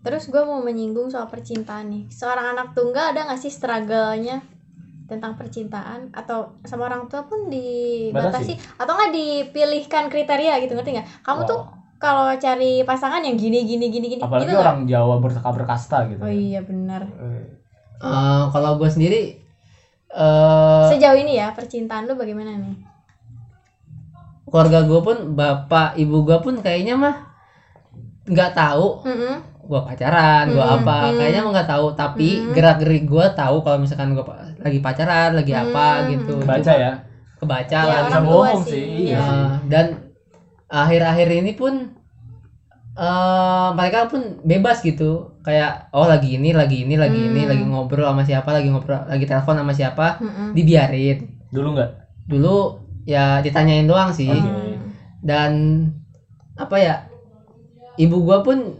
Speaker 3: Terus gue mau menyinggung soal percintaan nih. Seorang anak tunggal ada nggak sih struggle-nya tentang percintaan atau sama orang tua pun dibatasi atau nggak dipilihkan kriteria gitu ngerti nggak? Kamu tuh
Speaker 2: Wah,
Speaker 3: kalau cari pasangan yang gini gini gini gini
Speaker 2: apalagi
Speaker 3: nggak?
Speaker 2: orang Jawa berteka berkasta gitu.
Speaker 3: Oh iya benar.
Speaker 2: Eh,
Speaker 1: Eh, kalau gue sendiri eh
Speaker 3: Sejauh ini ya percintaan lu bagaimana nih?
Speaker 1: keluarga gue pun bapak ibu gue pun kayaknya mah nggak tahu
Speaker 3: Mm-mm.
Speaker 1: gue pacaran gue
Speaker 3: Hmm,
Speaker 1: apa
Speaker 3: hmm.
Speaker 1: kayaknya mah nggak tahu tapi
Speaker 3: Hmm.
Speaker 1: gerak gerik gue tahu kalau misalkan gue lagi pacaran lagi apa
Speaker 3: Hmm.
Speaker 1: gitu
Speaker 2: Baca ya.
Speaker 1: kebaca
Speaker 3: Ya,
Speaker 1: lah
Speaker 2: bisa
Speaker 3: orang tua
Speaker 2: bohong
Speaker 3: sih.
Speaker 2: sih.
Speaker 3: Iya.
Speaker 2: sih.
Speaker 1: Nah, dan akhir-akhir ini pun eh mereka pun bebas gitu kayak oh lagi ini lagi ini lagi ini
Speaker 3: Hmm.
Speaker 1: lagi ngobrol sama siapa lagi ngobrol lagi telepon sama siapa
Speaker 3: Mm-mm.
Speaker 1: dibiarin
Speaker 2: Dulu nggak?
Speaker 1: dulu ya ditanyain doang sih
Speaker 2: Oke.
Speaker 3: Mm.
Speaker 1: dan apa ya ibu gua pun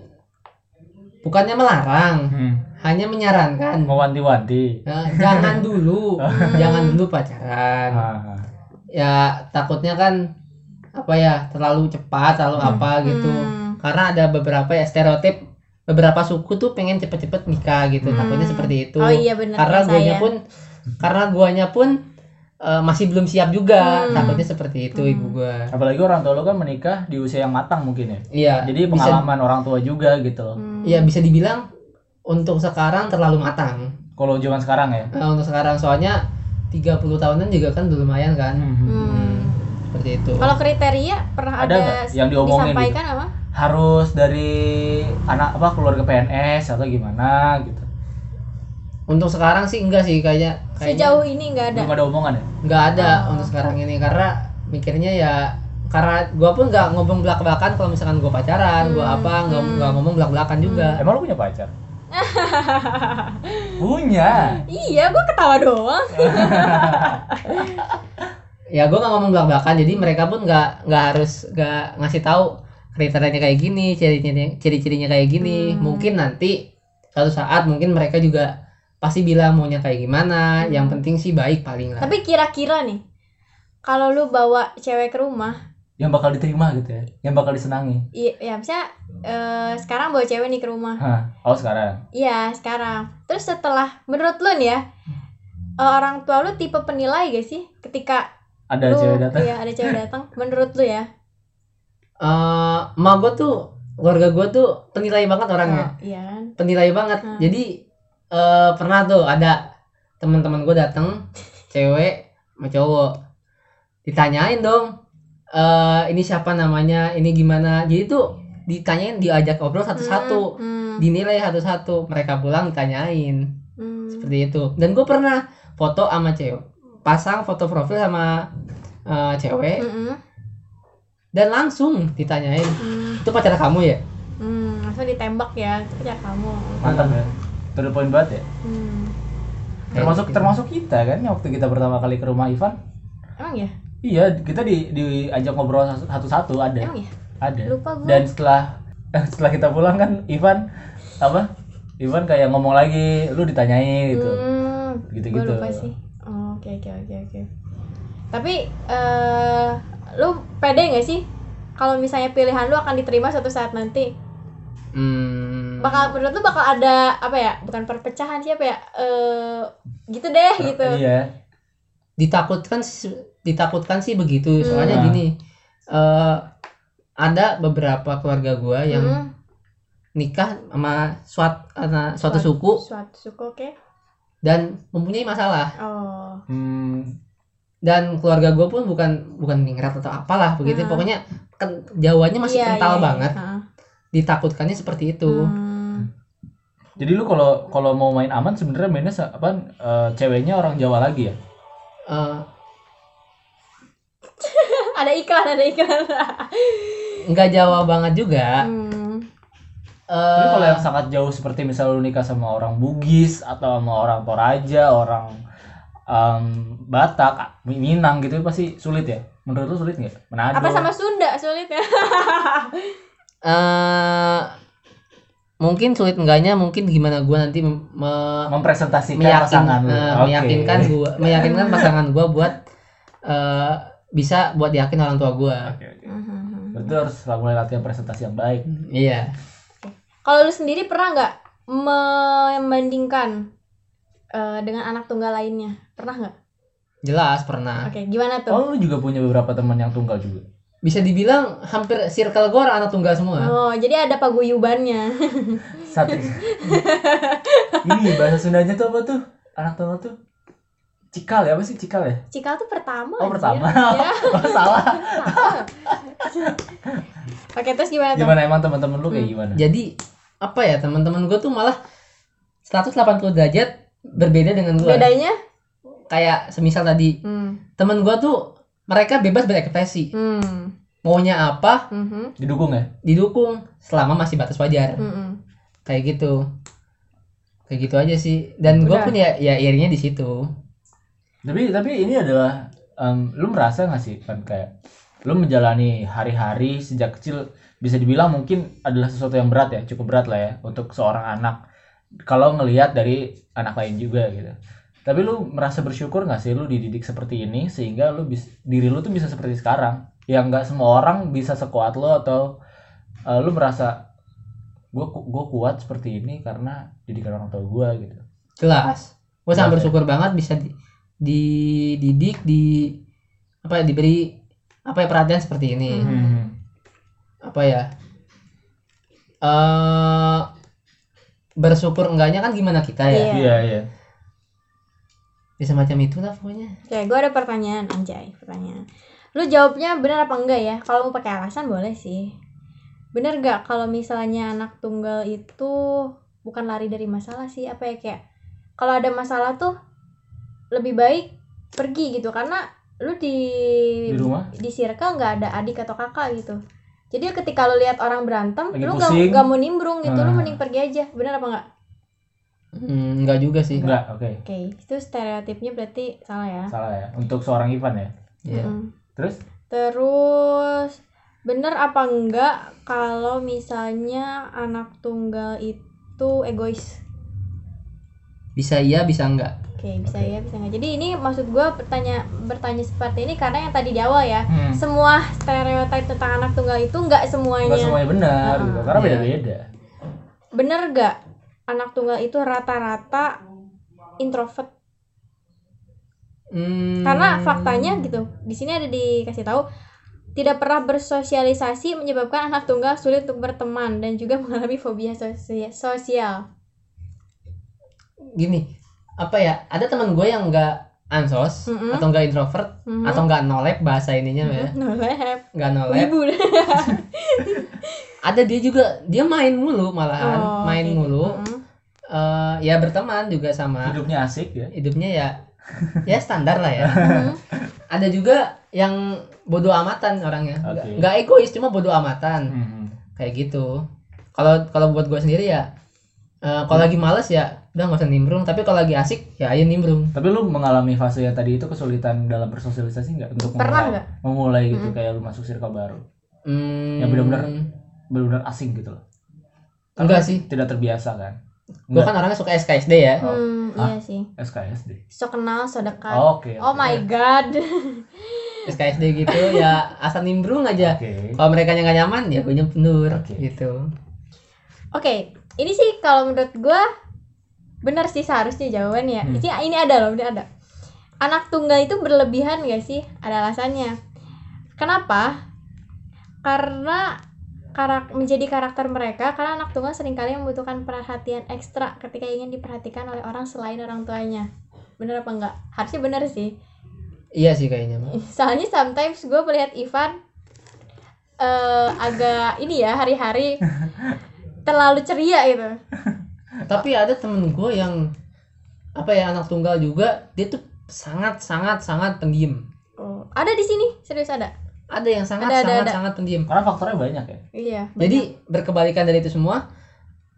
Speaker 1: bukannya melarang
Speaker 2: Hmm.
Speaker 1: hanya menyarankan
Speaker 2: Oh. Mewanti-wanti.
Speaker 1: Nah,
Speaker 2: *laughs*
Speaker 1: jangan dulu jangan dulu
Speaker 3: Kan.
Speaker 1: pacaran
Speaker 2: Ah,
Speaker 1: ya takutnya kan apa ya terlalu cepat terlalu
Speaker 2: Hmm.
Speaker 1: apa gitu
Speaker 3: Hmm.
Speaker 1: karena ada beberapa ya stereotip beberapa suku tuh pengen cepet-cepet nikah gitu
Speaker 2: Hmm.
Speaker 1: takutnya seperti itu
Speaker 3: Oh iya benar.
Speaker 1: karena guanya pun karena guanya pun eh, masih belum siap juga
Speaker 3: Hmm.
Speaker 1: takutnya seperti itu
Speaker 3: Hmm.
Speaker 1: ibu gua
Speaker 2: Apalagi orang tua lo kan menikah di usia yang matang mungkin ya.
Speaker 1: iya
Speaker 2: Jadi
Speaker 1: bisa
Speaker 2: pengalaman orang tua juga
Speaker 3: Hmm.
Speaker 2: gitu.
Speaker 3: Mm.
Speaker 1: iya bisa dibilang untuk sekarang terlalu matang
Speaker 2: Kalau zaman sekarang ya.
Speaker 1: Nah, untuk sekarang soalnya 30 tahunan juga kan udah lumayan kan
Speaker 3: Hmm.
Speaker 2: Hmm.
Speaker 1: seperti itu
Speaker 3: Mm. Kalau kriteria pernah
Speaker 2: Ada
Speaker 3: ada,
Speaker 2: nggak yang diomongin gitu?
Speaker 3: disampaikan apa?
Speaker 2: Harus dari anak apa keluarga PNS atau gimana gitu.
Speaker 1: untuk sekarang sih enggak sih kayaknya kayaknya
Speaker 3: Sejauh ini nggak ada.
Speaker 2: Belum ada omongan ya?
Speaker 1: nggak ada
Speaker 3: Oh.
Speaker 1: untuk sekarang ini karena mikirnya ya karena gua pun nggak ngomong belak belakan kalau misalkan gua pacaran gua
Speaker 3: Hmm.
Speaker 1: apa nggak
Speaker 3: Hmm.
Speaker 1: nggak ngomong belak belakan juga
Speaker 2: Emang lo punya
Speaker 3: *laughs*
Speaker 2: pacar? punya.
Speaker 3: Iya, gua ketawa doang.
Speaker 2: Nah.
Speaker 1: ya gua nggak ngomong belak belakan jadi mereka pun nggak nggak harus nggak ngasih tahu kriterianya kayak gini ciri-cirinya ciri-cirinya kayak gini
Speaker 3: Hmm.
Speaker 1: mungkin nanti suatu saat mungkin mereka juga pasti bilang maunya kayak gimana yang
Speaker 3: Hmm.
Speaker 1: penting sih baik paling lah
Speaker 3: Tapi kira-kira nih, kalau lu bawa cewek ke rumah,
Speaker 2: Yang bakal diterima gitu ya. Yang bakal disenangi.
Speaker 3: i- ya misalnya eh, sekarang bawa cewek nih ke rumah.
Speaker 2: Hah, oh sekarang.
Speaker 3: Iya sekarang. Terus setelah menurut lu nih ya eh, orang tua lu tipe penilai gak sih ketika
Speaker 2: Ada
Speaker 3: lu
Speaker 2: cewek datang.
Speaker 3: Iya ada cewek datang. Menurut lu ya?
Speaker 1: Eh, emak gue tuh keluarga gue tuh penilai banget orangnya
Speaker 3: Oh, iya kan.
Speaker 1: penilai banget
Speaker 3: Hmm.
Speaker 1: jadi eh, pernah tuh ada teman-teman gue dateng cewek sama cowok ditanyain dong eh ini siapa namanya ini gimana jadi tuh ditanyain diajak ngobrol satu-satu
Speaker 3: Hmm,
Speaker 1: dinilai satu-satu mereka pulang ditanyain
Speaker 3: hmm, hmm.
Speaker 1: seperti itu dan gue pernah foto sama cewek pasang foto profil sama eh, cewek
Speaker 3: Mm-mm,
Speaker 1: dan langsung ditanyain
Speaker 3: hmm,
Speaker 1: itu pacar kamu ya
Speaker 3: hmm. langsung ditembak ya itu pacar kamu
Speaker 2: Mantap ya. To the point banget ya.
Speaker 3: Hmm.
Speaker 2: Termasuk
Speaker 1: gitu.
Speaker 2: termasuk kita kan yang waktu kita pertama kali ke rumah Ivan.
Speaker 3: emang ya
Speaker 2: Iya, kita di diajak ngobrol satu-satu ada.
Speaker 3: emang ya
Speaker 2: Ada.
Speaker 3: lupa gue
Speaker 2: Dan setelah *laughs* setelah kita pulang kan Ivan apa? Ivan kayak ngomong lagi, lu ditanyain gitu.
Speaker 3: Hmm,
Speaker 2: Gitu-gitu.
Speaker 1: gitu.
Speaker 3: Gue lupa sih. Oh, Oke oke oke oke. Tapi eh lu pede nggak sih kalau misalnya pilihan lu akan diterima suatu saat nanti?
Speaker 1: Hmm.
Speaker 3: Bakal menurut lu bakal ada apa ya? Bukan perpecahan sih apa ya? Eh gitu deh gitu.
Speaker 2: Iya.
Speaker 1: ditakutkan ditakutkan sih begitu soalnya
Speaker 2: Hmm.
Speaker 1: gini eh ada beberapa keluarga gua yang
Speaker 3: Hmm,
Speaker 1: nikah sama suat, ana- suatu
Speaker 3: Suat-
Speaker 1: suku
Speaker 3: suatu suku oke.
Speaker 1: dan mempunyai masalah
Speaker 3: Oh.
Speaker 2: Hmm,
Speaker 1: dan keluarga gua pun bukan bukan ningrat atau apalah begitu
Speaker 3: Hmm.
Speaker 1: pokoknya ken, jawannya masih
Speaker 3: iya,
Speaker 1: kental
Speaker 3: iya, iya.
Speaker 1: banget
Speaker 3: Ah.
Speaker 1: ditakutkannya seperti itu
Speaker 3: Hmm.
Speaker 2: Jadi lu kalau kalau mau main aman sebenarnya mainnya se- apa eh, ceweknya orang Jawa lagi ya?
Speaker 1: Eh,
Speaker 3: ada iklan, ada iklan.
Speaker 1: nggak jawa banget juga
Speaker 3: Hmm.
Speaker 2: Tapi
Speaker 1: Eh,
Speaker 2: kalau yang sangat jauh seperti misal lu nikah sama orang Bugis atau sama orang Toraja, orang em, Batak, Minang gitu pasti sulit ya. Menurut lu sulit nggak? Manado.
Speaker 3: Apa sama Sunda sulit ya?
Speaker 1: eh, mungkin sulit enggaknya mungkin gimana gua nanti mem- me-
Speaker 2: mempresentasikan
Speaker 1: meyakin,
Speaker 2: pasangan
Speaker 1: eh,
Speaker 2: lu. Oke.
Speaker 1: meyakinkan gua meyakinkan pasangan gua buat eh, bisa buat yakin orang tua gua
Speaker 2: *laughs* Oke, oke. Berarti harus mulai latihan presentasi yang baik.
Speaker 1: iya
Speaker 3: Kalau lu sendiri pernah nggak membandingkan eh, dengan anak tunggal lainnya? Pernah nggak?
Speaker 1: jelas pernah
Speaker 3: Oke, gimana tuh?
Speaker 2: Oh, lu juga punya beberapa teman yang tunggal juga.
Speaker 1: bisa dibilang hampir circle gua orang anak tunggal semua
Speaker 3: Oh, jadi ada paguyubannya. *laughs*
Speaker 1: *laughs*
Speaker 2: Satu. Ini bahasa Sundanya tuh apa tuh? Anak tunggal tuh cikal ya apa sih cikal
Speaker 1: *laughs*
Speaker 2: ya?
Speaker 3: Cikal tuh pertama.
Speaker 2: Oh,
Speaker 3: anjir.
Speaker 2: pertama.
Speaker 3: Ya,
Speaker 2: *laughs* Oh, salah.
Speaker 3: pertama. *laughs* Oke, terus gimana tuh?
Speaker 2: Gimana emang teman-teman lu kayak
Speaker 1: Hmm.
Speaker 2: gimana?
Speaker 1: jadi apa ya teman-teman gua tuh malah 180 derajat berbeda dengan gua
Speaker 3: Bedanya?
Speaker 1: kayak semisal tadi
Speaker 3: Hmm.
Speaker 1: temen gua tuh mereka bebas berekspresi
Speaker 3: Hmm.
Speaker 1: maunya apa
Speaker 3: Mhm.
Speaker 2: Didukung ya?
Speaker 1: didukung selama masih batas wajar
Speaker 3: Mhm.
Speaker 1: kayak gitu kayak gitu aja sih dan gua
Speaker 3: Udah.
Speaker 1: pun ya ya irinya di situ
Speaker 2: Tapi tapi ini adalah em, lu merasa nggak sih kan kayak lu menjalani hari-hari sejak kecil bisa dibilang mungkin adalah sesuatu yang berat ya cukup berat lah ya untuk seorang anak kalau ngelihat dari anak lain juga gitu tapi lu merasa bersyukur nggak sih lu dididik seperti ini sehingga lu bis, diri lu tuh bisa seperti sekarang yang nggak semua orang bisa sekuat lu atau eh, lu merasa gue gue kuat seperti ini karena didikan orang tua gue gitu
Speaker 1: jelas gue
Speaker 2: Jelas ya.
Speaker 1: sangat bersyukur banget bisa di, dididik di apa ya, diberi apa ya perhatian seperti ini
Speaker 3: Hmm.
Speaker 1: apa ya eh bersyukur enggaknya kan gimana kita ya
Speaker 3: Iya.
Speaker 2: iya iya
Speaker 1: bisa macam itulah pokoknya
Speaker 3: Oke, gue ada pertanyaan, anjay, pertanyaan. Lu jawabnya benar apa enggak ya? Kalau mau pakai alasan boleh sih. Bener gak kalau misalnya anak tunggal itu bukan lari dari masalah sih, apa ya kayak kalau ada masalah tuh lebih baik pergi gitu karena lu di
Speaker 2: di rumah
Speaker 3: di circle nggak ada adik atau kakak gitu. Jadi ketika lu lihat orang berantem,
Speaker 2: Lagi
Speaker 3: lu nggak
Speaker 2: pusing.
Speaker 3: nggak mau nimbrung gitu, lu
Speaker 2: Ah.
Speaker 3: mending pergi aja. Bener apa enggak?
Speaker 1: Hmm, enggak juga sih
Speaker 2: enggak oke
Speaker 3: Oke, itu stereotipnya berarti salah ya.
Speaker 2: salah ya untuk seorang Ivan ya
Speaker 1: Iya.
Speaker 3: Mm-mm.
Speaker 2: terus
Speaker 3: Terus bener apa enggak kalau misalnya anak tunggal itu egois?
Speaker 1: bisa iya bisa enggak
Speaker 3: Oke bisa
Speaker 2: Oke.
Speaker 3: ya bisa enggak. Jadi ini maksud gua bertanya bertanya seperti ini karena yang tadi di awal ya
Speaker 2: Hmm.
Speaker 3: semua stereotip tentang anak tunggal itu enggak semuanya.
Speaker 2: nggak semuanya benar
Speaker 3: Ah.
Speaker 2: gitu karena
Speaker 1: Iya.
Speaker 2: beda beda
Speaker 3: Bener enggak anak tunggal itu rata-rata introvert?
Speaker 1: Hmm,
Speaker 3: Karena faktanya gitu di sini ada dikasih tahu tidak pernah bersosialisasi menyebabkan anak tunggal sulit untuk berteman dan juga mengalami fobia sosia- sosial.
Speaker 1: gini apa ya ada teman gue yang enggak ansos
Speaker 3: Mm-mm.
Speaker 1: atau enggak introvert
Speaker 3: Mhm.
Speaker 1: atau enggak nolep bahasa ininya
Speaker 3: *laughs*
Speaker 1: ya
Speaker 3: No lab.
Speaker 1: enggak nolep
Speaker 3: Wibu deh.
Speaker 1: ada dia juga dia main mulu malahan
Speaker 3: Oh,
Speaker 1: main
Speaker 3: oke.
Speaker 1: mulu
Speaker 3: Mm-mm.
Speaker 1: Eh, ya berteman juga sama
Speaker 2: hidupnya asik ya
Speaker 1: hidupnya
Speaker 3: *laughs*
Speaker 1: ya ya standar lah ya
Speaker 3: Mm-mm.
Speaker 1: ada juga yang bodoh amatan orangnya nggak
Speaker 2: Oke.
Speaker 1: nggak egois cuma bodoh amatan
Speaker 2: Mhm.
Speaker 1: kayak gitu kalau kalau buat gue sendiri ya eh, kalau lagi males ya udah nggak usah nimbrung tapi kalau lagi asik ya ayo nimbrung
Speaker 2: tapi lu mengalami fase yang tadi itu kesulitan dalam bersosialisasi nggak untuk
Speaker 3: Pernah
Speaker 2: memulai,
Speaker 3: nggak? Hmm.
Speaker 2: memulai gitu
Speaker 3: Mm-mm.
Speaker 2: kayak lu masuk circle baru
Speaker 1: hmm,
Speaker 2: Ya, bener-bener. benar-benar asing gitu loh
Speaker 1: Enggak sih.
Speaker 2: tidak terbiasa kan
Speaker 1: gue kan orangnya suka SKSD ya
Speaker 2: Oh.
Speaker 3: Hmm,
Speaker 2: Hah?
Speaker 3: iya sih.
Speaker 2: SKSD
Speaker 3: So kenal, so dekat.
Speaker 2: Ah,
Speaker 3: Oh,
Speaker 2: oke oke.
Speaker 3: my god.
Speaker 1: SKSD gitu ya asal nimbrung aja
Speaker 2: oke
Speaker 1: kalau mereka nggak nyaman ya gue nyempendur
Speaker 2: Oke.
Speaker 1: gitu
Speaker 3: Oke, ini sih kalau menurut gua benar sih seharusnya jawabannya.
Speaker 2: Hmm.
Speaker 3: Ini ini ada loh, ini ada. Anak tunggal itu berlebihan gak sih? Ada alasannya. Kenapa? Karena karak menjadi karakter mereka karena anak tunggal seringkali membutuhkan perhatian ekstra ketika ingin diperhatikan oleh orang selain orang tuanya. Bener apa enggak? Harusnya bener sih.
Speaker 1: iya sih kayaknya mah
Speaker 3: Soalnya sometimes gue melihat Ivan eh agak ini ya hari-hari terlalu ceria gitu.
Speaker 1: tapi ada temen gue yang apa ya anak tunggal juga dia tuh sangat sangat sangat pendiam
Speaker 3: Oh, ada di sini serius ada.
Speaker 1: ada yang sangat
Speaker 3: Ada, ada,
Speaker 1: sangat
Speaker 3: ada.
Speaker 1: sangat pendiam
Speaker 2: karena faktornya banyak ya
Speaker 3: Iya.
Speaker 1: jadi berkebalikan dari itu semua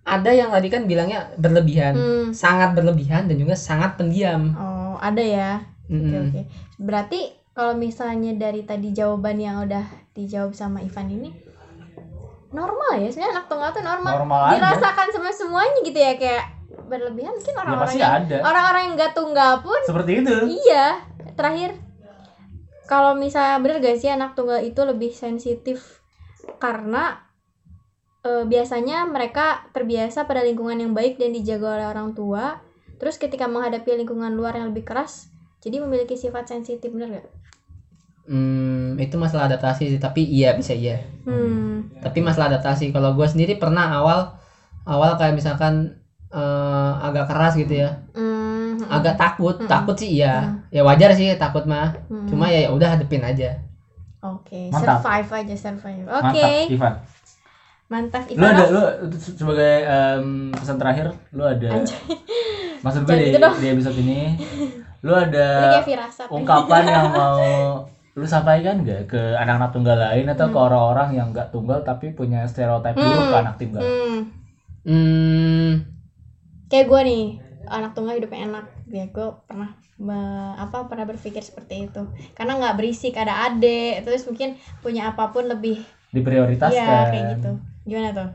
Speaker 1: ada yang tadi kan bilangnya
Speaker 3: banyak.
Speaker 1: berlebihan
Speaker 3: Hmm,
Speaker 1: sangat berlebihan dan juga sangat pendiam
Speaker 3: Oh ada ya. Oke
Speaker 1: Mm-mm.
Speaker 3: oke. Berarti kalau misalnya dari tadi jawaban yang udah dijawab sama Ivan ini normal ya sebenarnya anak tunggal tuh normal.
Speaker 2: normal aja
Speaker 3: Dirasakan sama semuanya gitu ya kayak berlebihan mungkin
Speaker 2: ya
Speaker 3: orang-orang
Speaker 2: pasti
Speaker 3: yang
Speaker 2: ada
Speaker 3: orang-orang yang gak tunggal pun
Speaker 2: seperti itu
Speaker 3: Iya, terakhir kalau misalnya bener gak sih anak tunggal itu lebih sensitif karena eh, biasanya mereka terbiasa pada lingkungan yang baik dan dijaga oleh orang tua. Terus ketika menghadapi lingkungan luar yang lebih keras, jadi memiliki sifat sensitif bener gak?
Speaker 1: Hmm, itu masalah adaptasi sih tapi iya bisa iya
Speaker 3: Hmm,
Speaker 1: tapi masalah adaptasi kalau gue sendiri pernah awal awal kayak misalkan eh, agak keras gitu ya
Speaker 3: hmm, hmm,
Speaker 1: agak takut
Speaker 3: Mm-mm.
Speaker 1: takut sih iya ya wajar sih takut mah
Speaker 3: hmm.
Speaker 1: cuma ya ya udah hadepin aja
Speaker 3: Oke,
Speaker 2: Mantap.
Speaker 3: survive aja survive. Oke,
Speaker 2: mantap Ivan
Speaker 3: mantap.
Speaker 2: lu ada
Speaker 3: Ivan.
Speaker 2: lu se- sebagai em, pesan terakhir lu ada maksud gue di,
Speaker 3: Jangan gitu dong.
Speaker 2: di episode ini lu
Speaker 3: Ini
Speaker 2: ada
Speaker 3: kayak firasat.
Speaker 2: *laughs* ungkapan
Speaker 3: *laughs*
Speaker 2: yang mau lu sampaikan gak ke anak-anak tunggal lain atau ke orang-orang yang gak tunggal tapi punya stereotip buruk ke
Speaker 3: Hmm.
Speaker 2: anak tunggal
Speaker 3: Hmm,
Speaker 1: Hmm,
Speaker 3: kayak gue nih anak tunggal hidupnya enak ya gue pernah me- apa pernah berpikir seperti itu karena nggak berisik ada adik terus mungkin punya apapun lebih
Speaker 2: diprioritaskan.
Speaker 3: Iya, kayak gitu. Gimana tuh?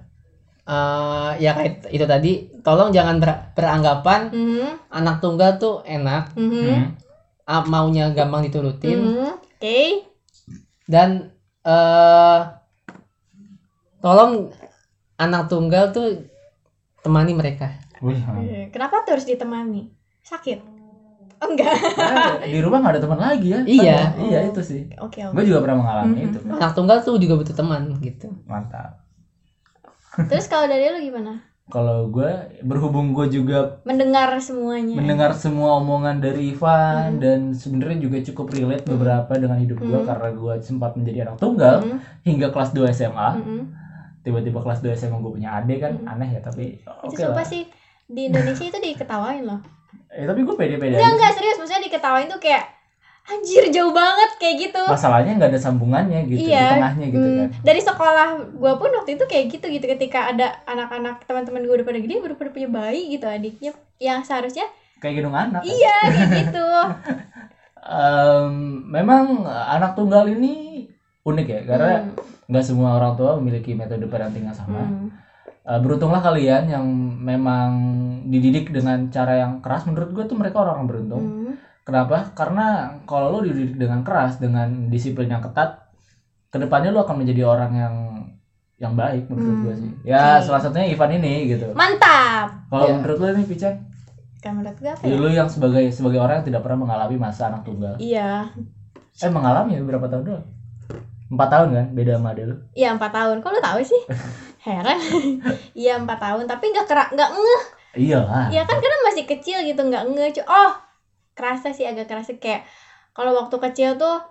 Speaker 1: Eh, ya kayak itu tadi tolong jangan ber- beranggapan
Speaker 3: Mhm,
Speaker 1: anak tunggal tuh enak
Speaker 3: mhm,
Speaker 2: Hmm.
Speaker 1: ah, maunya gampang diturutin
Speaker 3: mhm. Oke.
Speaker 1: dan eh tolong anak tunggal tuh temani mereka
Speaker 2: Wih,
Speaker 3: Eh, Kenapa tuh harus ditemani? Sakit? Oh, enggak. *laughs*
Speaker 2: ah, *laughs* di rumah nggak ada teman lagi ya?
Speaker 1: Iya.
Speaker 2: Kan? Iya itu sih.
Speaker 3: Oke, oke.
Speaker 2: Gue juga pernah mengalami
Speaker 3: Mhm.
Speaker 2: itu.
Speaker 1: anak tunggal tuh juga butuh teman gitu
Speaker 2: Mantap.
Speaker 3: Terus kalau dari lu gimana?
Speaker 2: Kalau gue berhubung gue juga
Speaker 3: Mendengar semuanya.
Speaker 2: mendengar semua omongan dari Ivan
Speaker 3: Mhm.
Speaker 2: dan sebenarnya juga cukup relate
Speaker 3: Mhm.
Speaker 2: beberapa dengan hidup gue
Speaker 3: Mhm.
Speaker 2: karena gue sempat menjadi anak tunggal
Speaker 3: Mhm,
Speaker 2: hingga kelas 2 SMA.
Speaker 3: mhm.
Speaker 2: Tiba-tiba kelas 2 SMA gue punya adik kan
Speaker 3: Mhm.
Speaker 2: aneh ya tapi oke
Speaker 3: Itu sumpah
Speaker 2: lah.
Speaker 3: sih di Indonesia itu diketawain
Speaker 2: *laughs*
Speaker 3: loh.
Speaker 2: Eh, tapi gue pede-pede
Speaker 3: Enggak
Speaker 2: aja.
Speaker 3: enggak serius maksudnya diketawain tuh kayak anjir jauh banget kayak gitu.
Speaker 2: Masalahnya nggak ada sambungannya gitu di
Speaker 3: Iya.
Speaker 2: tengahnya gitu
Speaker 3: Hmm,
Speaker 2: kan.
Speaker 3: Dari sekolah gua pun waktu itu kayak gitu gitu ketika ada anak-anak teman-teman gua udah pada gede baru pada punya bayi gitu adiknya yang seharusnya
Speaker 2: Kayak gedung anak. kan.
Speaker 3: iya kayak
Speaker 2: *laughs*
Speaker 3: gitu.
Speaker 2: Em, memang anak tunggal ini unik ya karena
Speaker 3: Hmm,
Speaker 2: nggak semua orang tua memiliki metode parenting yang sama.
Speaker 3: hmm.
Speaker 2: Eh, beruntunglah kalian yang memang dididik dengan cara yang keras. Menurut gue tuh mereka orang beruntung.
Speaker 3: Hmm.
Speaker 2: Kenapa? Karena kalau lo dididik dengan keras, dengan disiplin yang ketat, kedepannya lo akan menjadi orang yang yang baik menurut
Speaker 3: Hmm.
Speaker 2: gue sih. Ya
Speaker 3: Oke. Iya.
Speaker 2: salah satunya Ivan ini gitu.
Speaker 3: Mantap.
Speaker 2: Kalau
Speaker 1: Ya.
Speaker 2: menurut lo nih Pican,
Speaker 3: Kan menurut gua apa
Speaker 2: ya
Speaker 3: ya?
Speaker 2: lo yang sebagai sebagai orang yang tidak pernah mengalami masa anak tunggal.
Speaker 3: Iya,
Speaker 2: Eh mengalami ya berapa tahun doang? Empat tahun kan, beda sama ade lo.
Speaker 3: iya empat tahun. Kok lu tahu
Speaker 2: *laughs*
Speaker 3: sih? Heran. *laughs* Iya empat tahun, tapi nggak kerak nggak ngeh.
Speaker 2: Iyalah.
Speaker 3: Ya kan karena masih kecil gitu nggak ngeh. cu- Oh, kerasa sih agak kerasa kayak kalau waktu kecil tuh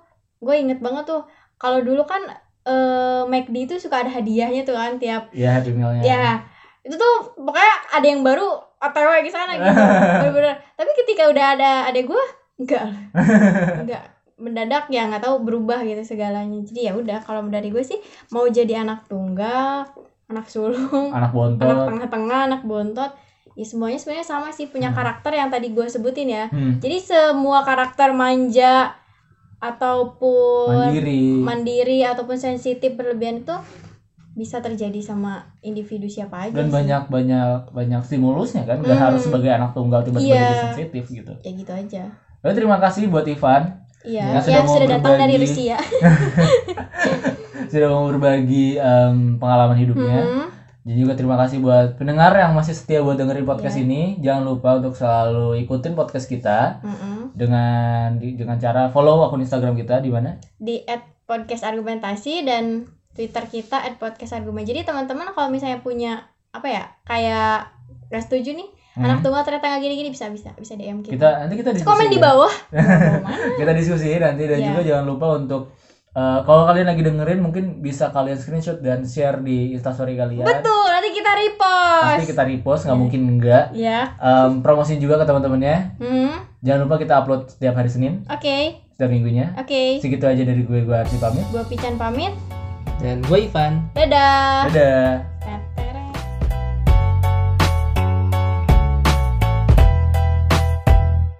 Speaker 3: gue inget banget tuh kalau dulu kan eh McD itu suka ada hadiahnya tuh kan tiap
Speaker 2: Iya happy mealnya.
Speaker 3: ya
Speaker 2: Hmm.
Speaker 3: itu tuh pokoknya ada yang baru otw ke sana
Speaker 2: *laughs*
Speaker 3: gitu bener-bener tapi ketika udah ada ada gue enggak enggak mendadak ya nggak tahu berubah gitu segalanya jadi ya udah kalau dari gue sih mau jadi anak tunggal anak sulung
Speaker 2: Anak
Speaker 3: anak
Speaker 2: bontot.
Speaker 3: tengah-tengah anak bontot ya semuanya sebenarnya sama sih punya
Speaker 2: Hmm.
Speaker 3: karakter yang tadi gue sebutin ya
Speaker 2: Hmm.
Speaker 3: jadi semua karakter manja ataupun
Speaker 2: Mandiri.
Speaker 3: mandiri ataupun sensitif berlebihan itu bisa terjadi sama individu siapa aja
Speaker 2: dan
Speaker 3: sih.
Speaker 2: banyak banyak banyak stimulusnya kan nggak
Speaker 3: Hmm.
Speaker 2: harus sebagai anak tunggal tiba-tiba
Speaker 3: Iya.
Speaker 2: jadi sensitif gitu.
Speaker 3: ya gitu aja
Speaker 2: Lalu terima kasih buat Ivan Ya,
Speaker 3: iya yang
Speaker 2: sudah
Speaker 3: sudah,
Speaker 2: mau
Speaker 3: datang dari
Speaker 2: berbagi. ya.
Speaker 3: *laughs* Rusia
Speaker 2: sudah mau berbagi em, pengalaman hidupnya.
Speaker 3: Mhm.
Speaker 2: Dan juga terima kasih buat pendengar yang masih setia buat dengerin podcast
Speaker 3: Iya.
Speaker 2: ini. Jangan lupa untuk selalu ikutin podcast kita
Speaker 3: Mhm.
Speaker 2: dengan di- dengan cara follow akun Instagram kita di mana?
Speaker 3: di at podcast argumentasi dan Twitter kita at podcast argumen jadi teman-teman kalau misalnya punya apa ya kayak nggak setuju nih anak
Speaker 2: Hmm.
Speaker 3: tunggal ternyata nggak gini-gini bisa bisa bisa DM kita,
Speaker 2: Kita Iya. nanti kita
Speaker 3: Terus
Speaker 2: diskusi.
Speaker 3: komen di
Speaker 2: ya. *laughs*
Speaker 3: bawah Mau mana?
Speaker 2: kita diskusi nanti dan
Speaker 3: Iya.
Speaker 2: juga jangan lupa untuk eh, kalau kalian lagi dengerin mungkin bisa kalian screenshot dan share di instastory kalian
Speaker 3: *laughs* betul Iya. nanti kita
Speaker 2: pasti
Speaker 3: repost
Speaker 2: kita repost nggak mungkin enggak
Speaker 3: ya
Speaker 2: Em, promosiin juga ke teman-temannya
Speaker 3: hmm.
Speaker 2: jangan lupa kita upload setiap hari senin
Speaker 3: oke
Speaker 2: setiap minggunya
Speaker 3: oke
Speaker 2: segitu aja dari gue gue Arsi pamit
Speaker 3: gue Pican pamit
Speaker 1: dan gue Ivan
Speaker 3: dadah
Speaker 2: dadah